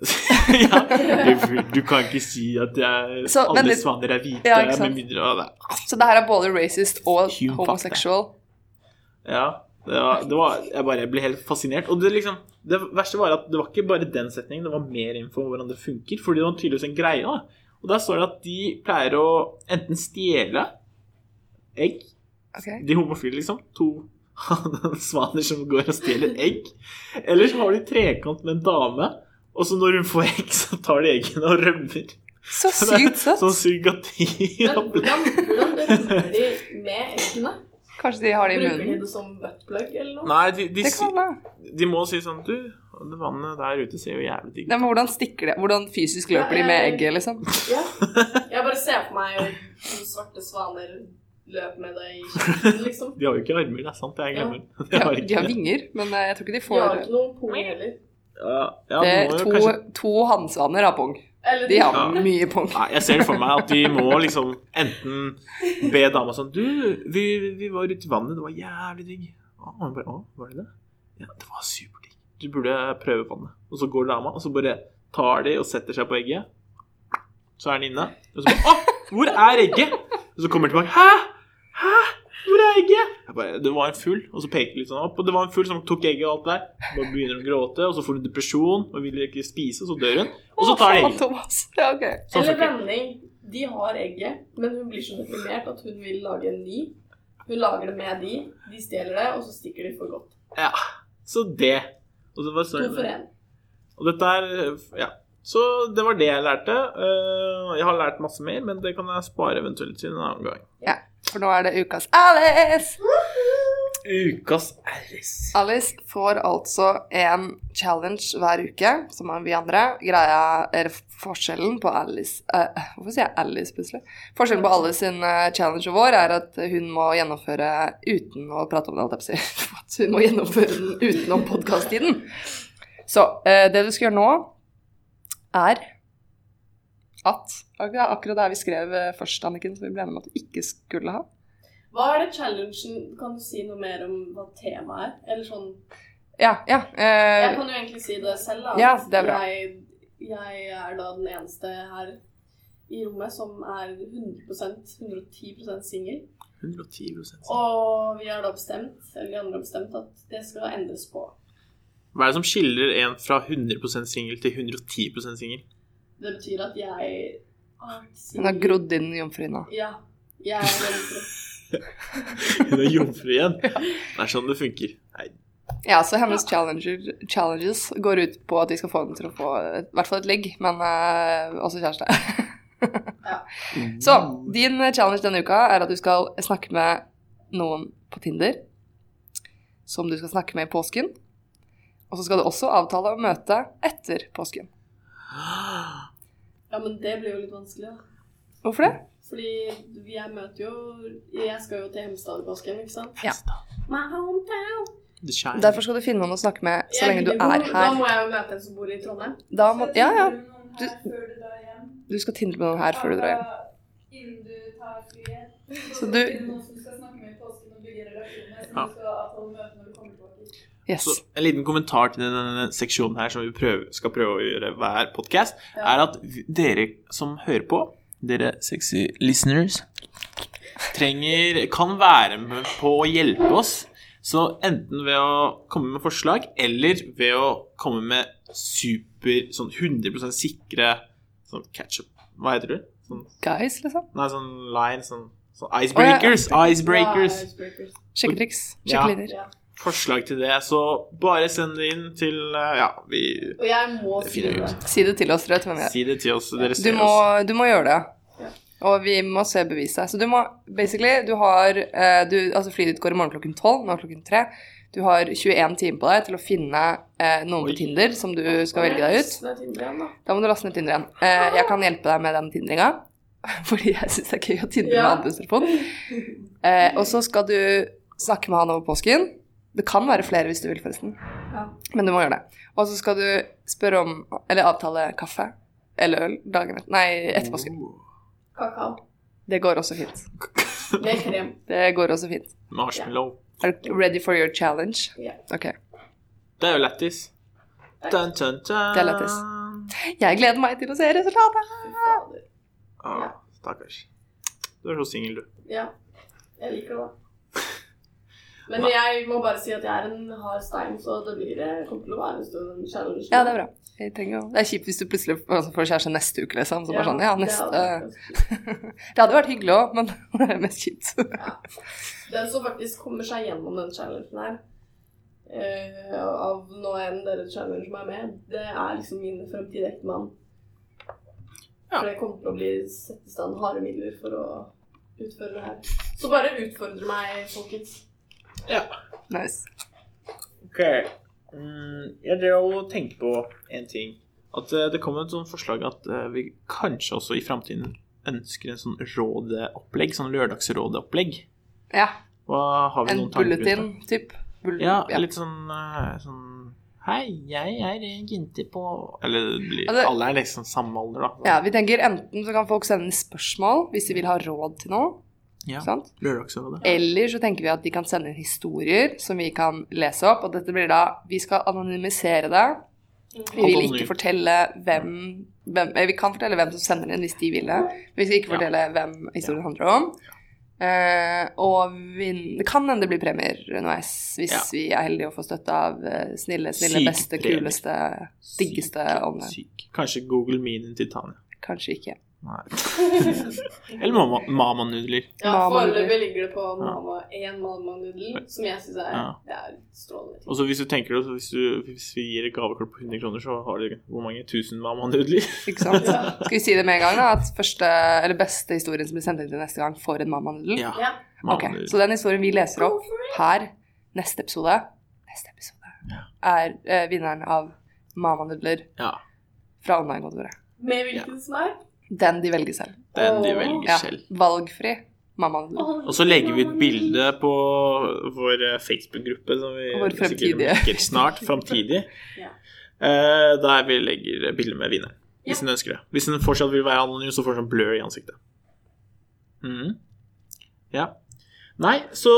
Speaker 1: ja, du, du kan ikke si at jeg,
Speaker 2: Så, vent
Speaker 1: alle
Speaker 2: litt.
Speaker 1: svaner er hvite.
Speaker 2: Ja, ikke sant?
Speaker 1: med mindre av det.
Speaker 2: Så det her er både racist og
Speaker 1: Hume
Speaker 2: homosexual.
Speaker 1: Ja, det var, det var, jeg bare ble helt fascinert. Og det, liksom, det verste var at det var ikke bare den setningen, det var mer info om hvordan det funker. Fordi det var tydeligvis en greie. da. Og der står det at de pleier å enten stjele egg,
Speaker 2: Ok.
Speaker 1: de homofile, liksom. To svaner som går og stjeler egg. Eller så har de trekant med en dame, og så når hun får egg, så tar de eggene og rømmer.
Speaker 2: Så sykt søtt.
Speaker 1: Sånn surrogati.
Speaker 3: Men hvordan, hvordan rømmer de med eggene?
Speaker 2: Kanskje de har det i
Speaker 3: Bruker de
Speaker 2: munnen.
Speaker 3: det som buttplug eller noe?
Speaker 1: Nei, de, de,
Speaker 2: Det kan være.
Speaker 1: si- de må si sånn Du, det vannet der ute ser jo jævlig digg ut.
Speaker 2: Nei, men hvordan stikker de? Hvordan fysisk løper de med egget, liksom?
Speaker 3: Ja. Jeg bare ser for meg to svarte svaner løpe med det i kjeften, liksom.
Speaker 1: De har jo ikke armer, det er sant. Jeg glemmer. De
Speaker 2: Ja,
Speaker 1: har
Speaker 2: de
Speaker 1: ikke
Speaker 2: har
Speaker 1: det.
Speaker 2: vinger, men eh, jeg tror ikke de
Speaker 3: De
Speaker 2: får
Speaker 3: har ikke noen pung heller.
Speaker 1: Ja, ja,
Speaker 2: det,
Speaker 1: de må jo
Speaker 2: To,
Speaker 1: kanskje...
Speaker 2: to hannsvaner har pung.
Speaker 3: Eller
Speaker 2: De har
Speaker 1: Ja.
Speaker 2: mye pung.
Speaker 1: Nei, jeg ser det for meg at de må liksom enten be dama sånn Du, vi, vi var ute i vannet, det var jævlig digg. Og hun bare Å, var det det? Ja, det var superdigg. Du burde prøve vannet. Og så går dama, og så bare tar de og setter seg på egget. Så er den inne. Og så bare Å, hvor er egget? Og så kommer de tilbake. Hæ? Hæ? Hvor er egget? Jeg bare, det var en fugl, og så peker de litt sånn opp. Og det var en fugl som tok egget og alt der. Bare begynner hun å gråte, og så får hun depresjon og vil ikke spise, og så dør hun. Og så tar de
Speaker 2: Å, faen,
Speaker 1: egget.
Speaker 2: Thomas. Ja, ok.
Speaker 1: Sånn
Speaker 3: Eller
Speaker 1: funker det.
Speaker 3: vending. De har egget, men hun blir så deprimert at hun vil lage en ny. Hun lager det med de, de stjeler det, og så stikker de for godt.
Speaker 1: Ja, så det. Og, så var
Speaker 3: To for
Speaker 1: det
Speaker 3: én.
Speaker 1: og dette er Ja. Så det var det jeg lærte. Eh, Jeg har lært masse mer, men det kan jeg spare eventuelt til en annen gang.
Speaker 2: For nå er det ukas Alice!
Speaker 1: Ukas RS.
Speaker 2: Alice får altså en challenge hver uke, som er vi andre. Greia er forskjellen på Alice eh, Hvorfor sier jeg Alice plutselig? Forskjellen på Alice sin eh, challenge og vår er at hun må gjennomføre uten å prate om det, holdt jeg på å si. At hun må gjennomføre den utenom podkast-tiden. Så eh, det du skal gjøre nå, er at Det er akkurat der vi skrev eh, først, Anniken, som vi ble enige om at du ikke skulle ha.
Speaker 3: Hva er det challengen Kan du si noe mer om hva temaet er? Eller sånn
Speaker 2: Ja, ja. eh,
Speaker 3: Jeg kan jo egentlig si det selv, da.
Speaker 2: Ja, det er bra.
Speaker 3: Jeg, jeg er da den eneste her i rommet som er 100 110 singel.
Speaker 1: 110
Speaker 3: Og vi har da bestemt, eller vi andre har bestemt, at det skal endres på.
Speaker 1: Hva er det som skiller en fra 100 singel til 110 singel?
Speaker 3: Det betyr at jeg har vært
Speaker 2: Hun har
Speaker 3: singel-
Speaker 2: grodd inn jomfruhinna.
Speaker 3: Ja. Jeg er jomfru.
Speaker 1: Hun er jomfru igjen. Det er sånn det funker. Nei,
Speaker 2: Ja, så hennes challenger, challenges går ut på at vi skal få henne til å få eh, i hvert fall et ligg, men eh, også kjæreste. Så
Speaker 1: Mm.
Speaker 2: din eh, challenge denne uka er at du skal snakke med noen på Tinder, som du skal snakke med i påsken. Og så skal du også avtale å møte etter påsken.
Speaker 3: Ja, men det blir jo litt vanskelig, da.
Speaker 2: Hvorfor det?
Speaker 3: Fordi vi- jeg møter jo Jeg skal jo til Hemsedal i påsken, ikke sant?
Speaker 2: Ja.
Speaker 3: My hometown.
Speaker 1: The Shine.
Speaker 2: Derfor skal du finne noen å snakke med så
Speaker 3: Jeg
Speaker 2: lenge du
Speaker 3: gidder
Speaker 2: er
Speaker 3: ikke bo- Da
Speaker 2: her.
Speaker 3: må jeg jo møte en som bor i Trondheim.
Speaker 2: Da må, ja, ja.
Speaker 4: Du,
Speaker 2: Du- Du skal tindre med noen her før du drar hjem.
Speaker 4: Innen du tar flyet.
Speaker 2: Så
Speaker 4: Så
Speaker 2: du-
Speaker 4: du Noen som skal snakke med i påsken og bygge relasjoner, som
Speaker 1: Ja.
Speaker 4: du skal avtale møte når du kommer tilbake.
Speaker 2: Yes.
Speaker 1: Så en liten kommentar til denne seksjonen her, som vi prøver, skal prøve å gjøre hver podkast, er at vi- dere som hører på, dere sexy listeners, trenger Kan være med på å hjelpe oss. Så enten ved å komme med forslag, eller ved å komme med super Sånn 100 sikre sånn catch-up Hva heter det? Sånn,
Speaker 2: Guys, liksom.
Speaker 1: nei, sånn line sånn, sånn Icebreakers! Icebreakers!
Speaker 3: Ja, icebreakers.
Speaker 2: Sjekketriks.
Speaker 1: Ja.
Speaker 2: Sjekkelinjer.
Speaker 3: Ja.
Speaker 1: forslag til det, så bare send det inn til eh, Ja, vi
Speaker 3: Og jeg må
Speaker 1: Det
Speaker 3: si
Speaker 1: finner vi
Speaker 3: det.
Speaker 1: ut.
Speaker 2: Si det til oss, Rødt, hvem vi er.
Speaker 1: Si det til oss, så dere
Speaker 2: Du
Speaker 1: ser
Speaker 2: må,
Speaker 1: oss.
Speaker 2: du må gjøre det.
Speaker 3: Ja.
Speaker 2: Og vi må se beviset. Så du må basically Du har eh, du, Altså flyet ditt går i morgen klokken 12, nå er klokken 3. Du har 21 timer på deg til å finne eh, noen
Speaker 1: Oi.
Speaker 2: på Tinder som du skal velge deg ut.
Speaker 3: Det er Tinder igjen, da.
Speaker 2: Da må du laste ned Tinder igjen. Eh, jeg kan hjelpe deg med den tindringa. Fordi jeg syns det er gøy å tindre med
Speaker 3: Ja.
Speaker 2: andres telefon. Eh, og så skal du snakke med han over påsken. Det kan være flere hvis du vil, forresten.
Speaker 3: Ja.
Speaker 2: Men du må gjøre det. Og så skal du spørre om Eller avtale kaffe eller øl dagen etter Nei, etter påsken.
Speaker 3: Kakao.
Speaker 2: Det går også fint.
Speaker 3: Med krem.
Speaker 2: Det går også fint.
Speaker 1: Marshmallow.
Speaker 2: Er du ready for your challenge?
Speaker 3: Ja.
Speaker 2: Ok.
Speaker 1: Det er jo lættis. Dun, dun, dun.
Speaker 2: Det er lættis. Jeg gleder meg til å se resultatet.
Speaker 3: Fy fader.
Speaker 1: Ah, Stakkars. Du er så singel, du.
Speaker 3: Ja. Jeg liker det, da. Men jeg må bare si at jeg er en hard stein, så det blir det kommer til å være en stund en challenge.
Speaker 2: Ja, det er bra. Jeg trenger jo- Det er kjipt hvis du plutselig får kjæreste neste uke, liksom. Så bare sånn, ja,
Speaker 3: det
Speaker 2: neste
Speaker 3: hadde vært-
Speaker 2: Det hadde vært hyggelig òg, men det er mest kjipt.
Speaker 3: Den som faktisk kommer seg gjennom den challengen her, eh, av nå enn dere challenger som er med, det er liksom min fremtidige ektemann.
Speaker 1: Ja.
Speaker 3: For jeg kommer til å bli satt i stand harde midler for å utføre det her. Så bare utfordre meg, folkens.
Speaker 2: Nice.
Speaker 1: Ok. Mm, jeg drev og tenkte på en ting. At eh, det kom et sånt forslag at eh, vi kanskje også i framtiden ønsker en sånn rådeopplegg. Sånn lørdagsrådeopplegg.
Speaker 2: Ja.
Speaker 1: Hva har vi
Speaker 2: En
Speaker 1: noen tanker rundt det?
Speaker 2: bulletin, typ. Bull
Speaker 1: Ja,
Speaker 2: ja.
Speaker 1: litt sånn, eh, sånn Hei, jeg er en jente på Eller det blir,
Speaker 2: Ja, det-
Speaker 1: alle er liksom samme alder, da.
Speaker 2: Ja, vi tenker enten så kan folk sende inn spørsmål hvis de vil ha råd til noe,
Speaker 1: Ja,
Speaker 2: sant?
Speaker 1: Lørdagsrådet.
Speaker 2: Eller så tenker vi at de kan sende inn historier som vi kan lese opp, og dette blir da, vi skal anonymisere det. Vi vil ikke fortelle hvem, hvem eh, vi kan fortelle hvem som sender inn hvis de vil det, men vi skal ikke
Speaker 1: Ja.
Speaker 2: fortelle hvem historien handler om. Eh, og vin, det kan hende det blir premier underveis hvis
Speaker 1: Ja.
Speaker 2: vi er heldige og får støtte av eh, snille, snille,
Speaker 1: Syke
Speaker 2: beste,
Speaker 1: premier.
Speaker 2: kuleste, diggeste ånden.
Speaker 1: Syk. Kanskje Google Minen til Tanja.
Speaker 2: Kanskje ikke.
Speaker 1: Nei. Eller mamma- mamanudler.
Speaker 3: Ja,
Speaker 2: Mama
Speaker 3: foreløpig ligger det på mamma, én mamma-nudel, som jeg syns er,
Speaker 1: Ja.
Speaker 3: det er strålende.
Speaker 1: Og så hvis du tenker deg, så hvis, du, hvis vi gir et gavekort på 100 kroner, så har du hvor mange tusen mamanudler?
Speaker 2: Ikke sant?
Speaker 3: Ja.
Speaker 2: Skal vi si det med en gang, da? At første, eller beste Mm. historien som blir sendt inn til neste gang, får en mammanudel?
Speaker 3: Ja.
Speaker 1: mamanudler.
Speaker 2: Så den historien vi leser opp her, Neste episode, neste episode er eh, vinneren av Mamanudler
Speaker 1: Ja.
Speaker 2: fra online-godordet.
Speaker 3: Med hvilken smak?
Speaker 2: Den de velger selv.
Speaker 1: Den de velger
Speaker 2: Ja,
Speaker 1: selv.
Speaker 2: valgfri mammanudler.
Speaker 3: Åh,
Speaker 1: Og så legger vi ut bilde på vår eh, Facebook-gruppe, som vi
Speaker 2: Vår
Speaker 1: sikkert
Speaker 2: fremtidige.
Speaker 1: merker snart. Framtidig.
Speaker 3: Ja.
Speaker 1: Eh, Der vi legger bilde med vinneren. Hvis
Speaker 3: Ja.
Speaker 1: den ønsker det. Hvis den fortsatt vil være anonym, så får den sånn blur i ansiktet. Mhm. Ja. Nei, så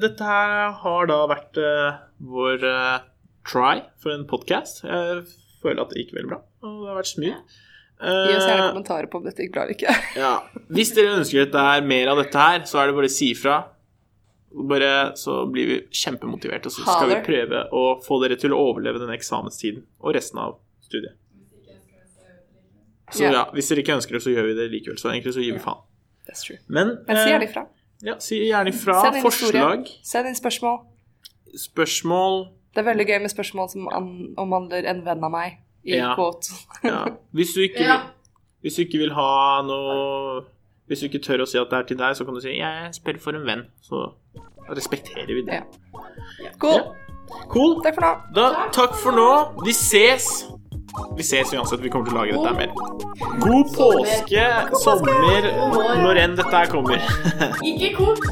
Speaker 1: dette her har da vært eh, vår eh, try for en podkast. Jeg føler at det gikk veldig bra, og det har vært smooth.
Speaker 2: Gi oss gjerne
Speaker 1: Eh,
Speaker 2: kommentarer på om dette gikk bra eller ikke.
Speaker 1: ja. Hvis dere ønsker at det er mer av dette her, så er det bare å si ifra. Bare, så blir vi kjempemotivert, og så skal vi
Speaker 2: Haler.
Speaker 1: prøve å få dere til å overleve den eksamenstiden og resten av studiet. Så
Speaker 2: Ja.
Speaker 1: ja, hvis dere ikke ønsker det, så gjør vi det likevel. Så egentlig så gir vi faen.
Speaker 2: That's true.
Speaker 1: Men,
Speaker 2: Men si
Speaker 1: eh,
Speaker 2: gjerne ifra.
Speaker 1: Ja, si gjerne ifra.
Speaker 2: Send inn historier.
Speaker 1: Forslag,
Speaker 2: Send inn spørsmål.
Speaker 1: spørsmål
Speaker 2: Det er veldig gøy med spørsmål som an- omhandler en venn av meg. I
Speaker 1: Ja.
Speaker 2: quote.
Speaker 1: ja. hvis, du ikke,
Speaker 3: Ja.
Speaker 1: hvis du ikke vil ha noe Hvis du ikke tør å si at det er til deg, så kan du si 'jeg spør for en venn'. Så respekterer vi det.
Speaker 2: Ja. Cool.
Speaker 1: Cool.
Speaker 2: Takk for nå.
Speaker 1: Da, takk for nå. Vi ses. Vi ses uansett. Vi kommer til å lage dette her mer. God påske, sommer, når enn dette her kommer.
Speaker 3: Ikke kok!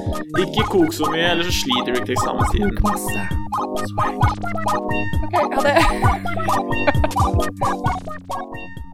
Speaker 1: Ikke kok så mye, ellers så sliter du ikke til eksamenstiden.
Speaker 2: Masse. OK, ha det.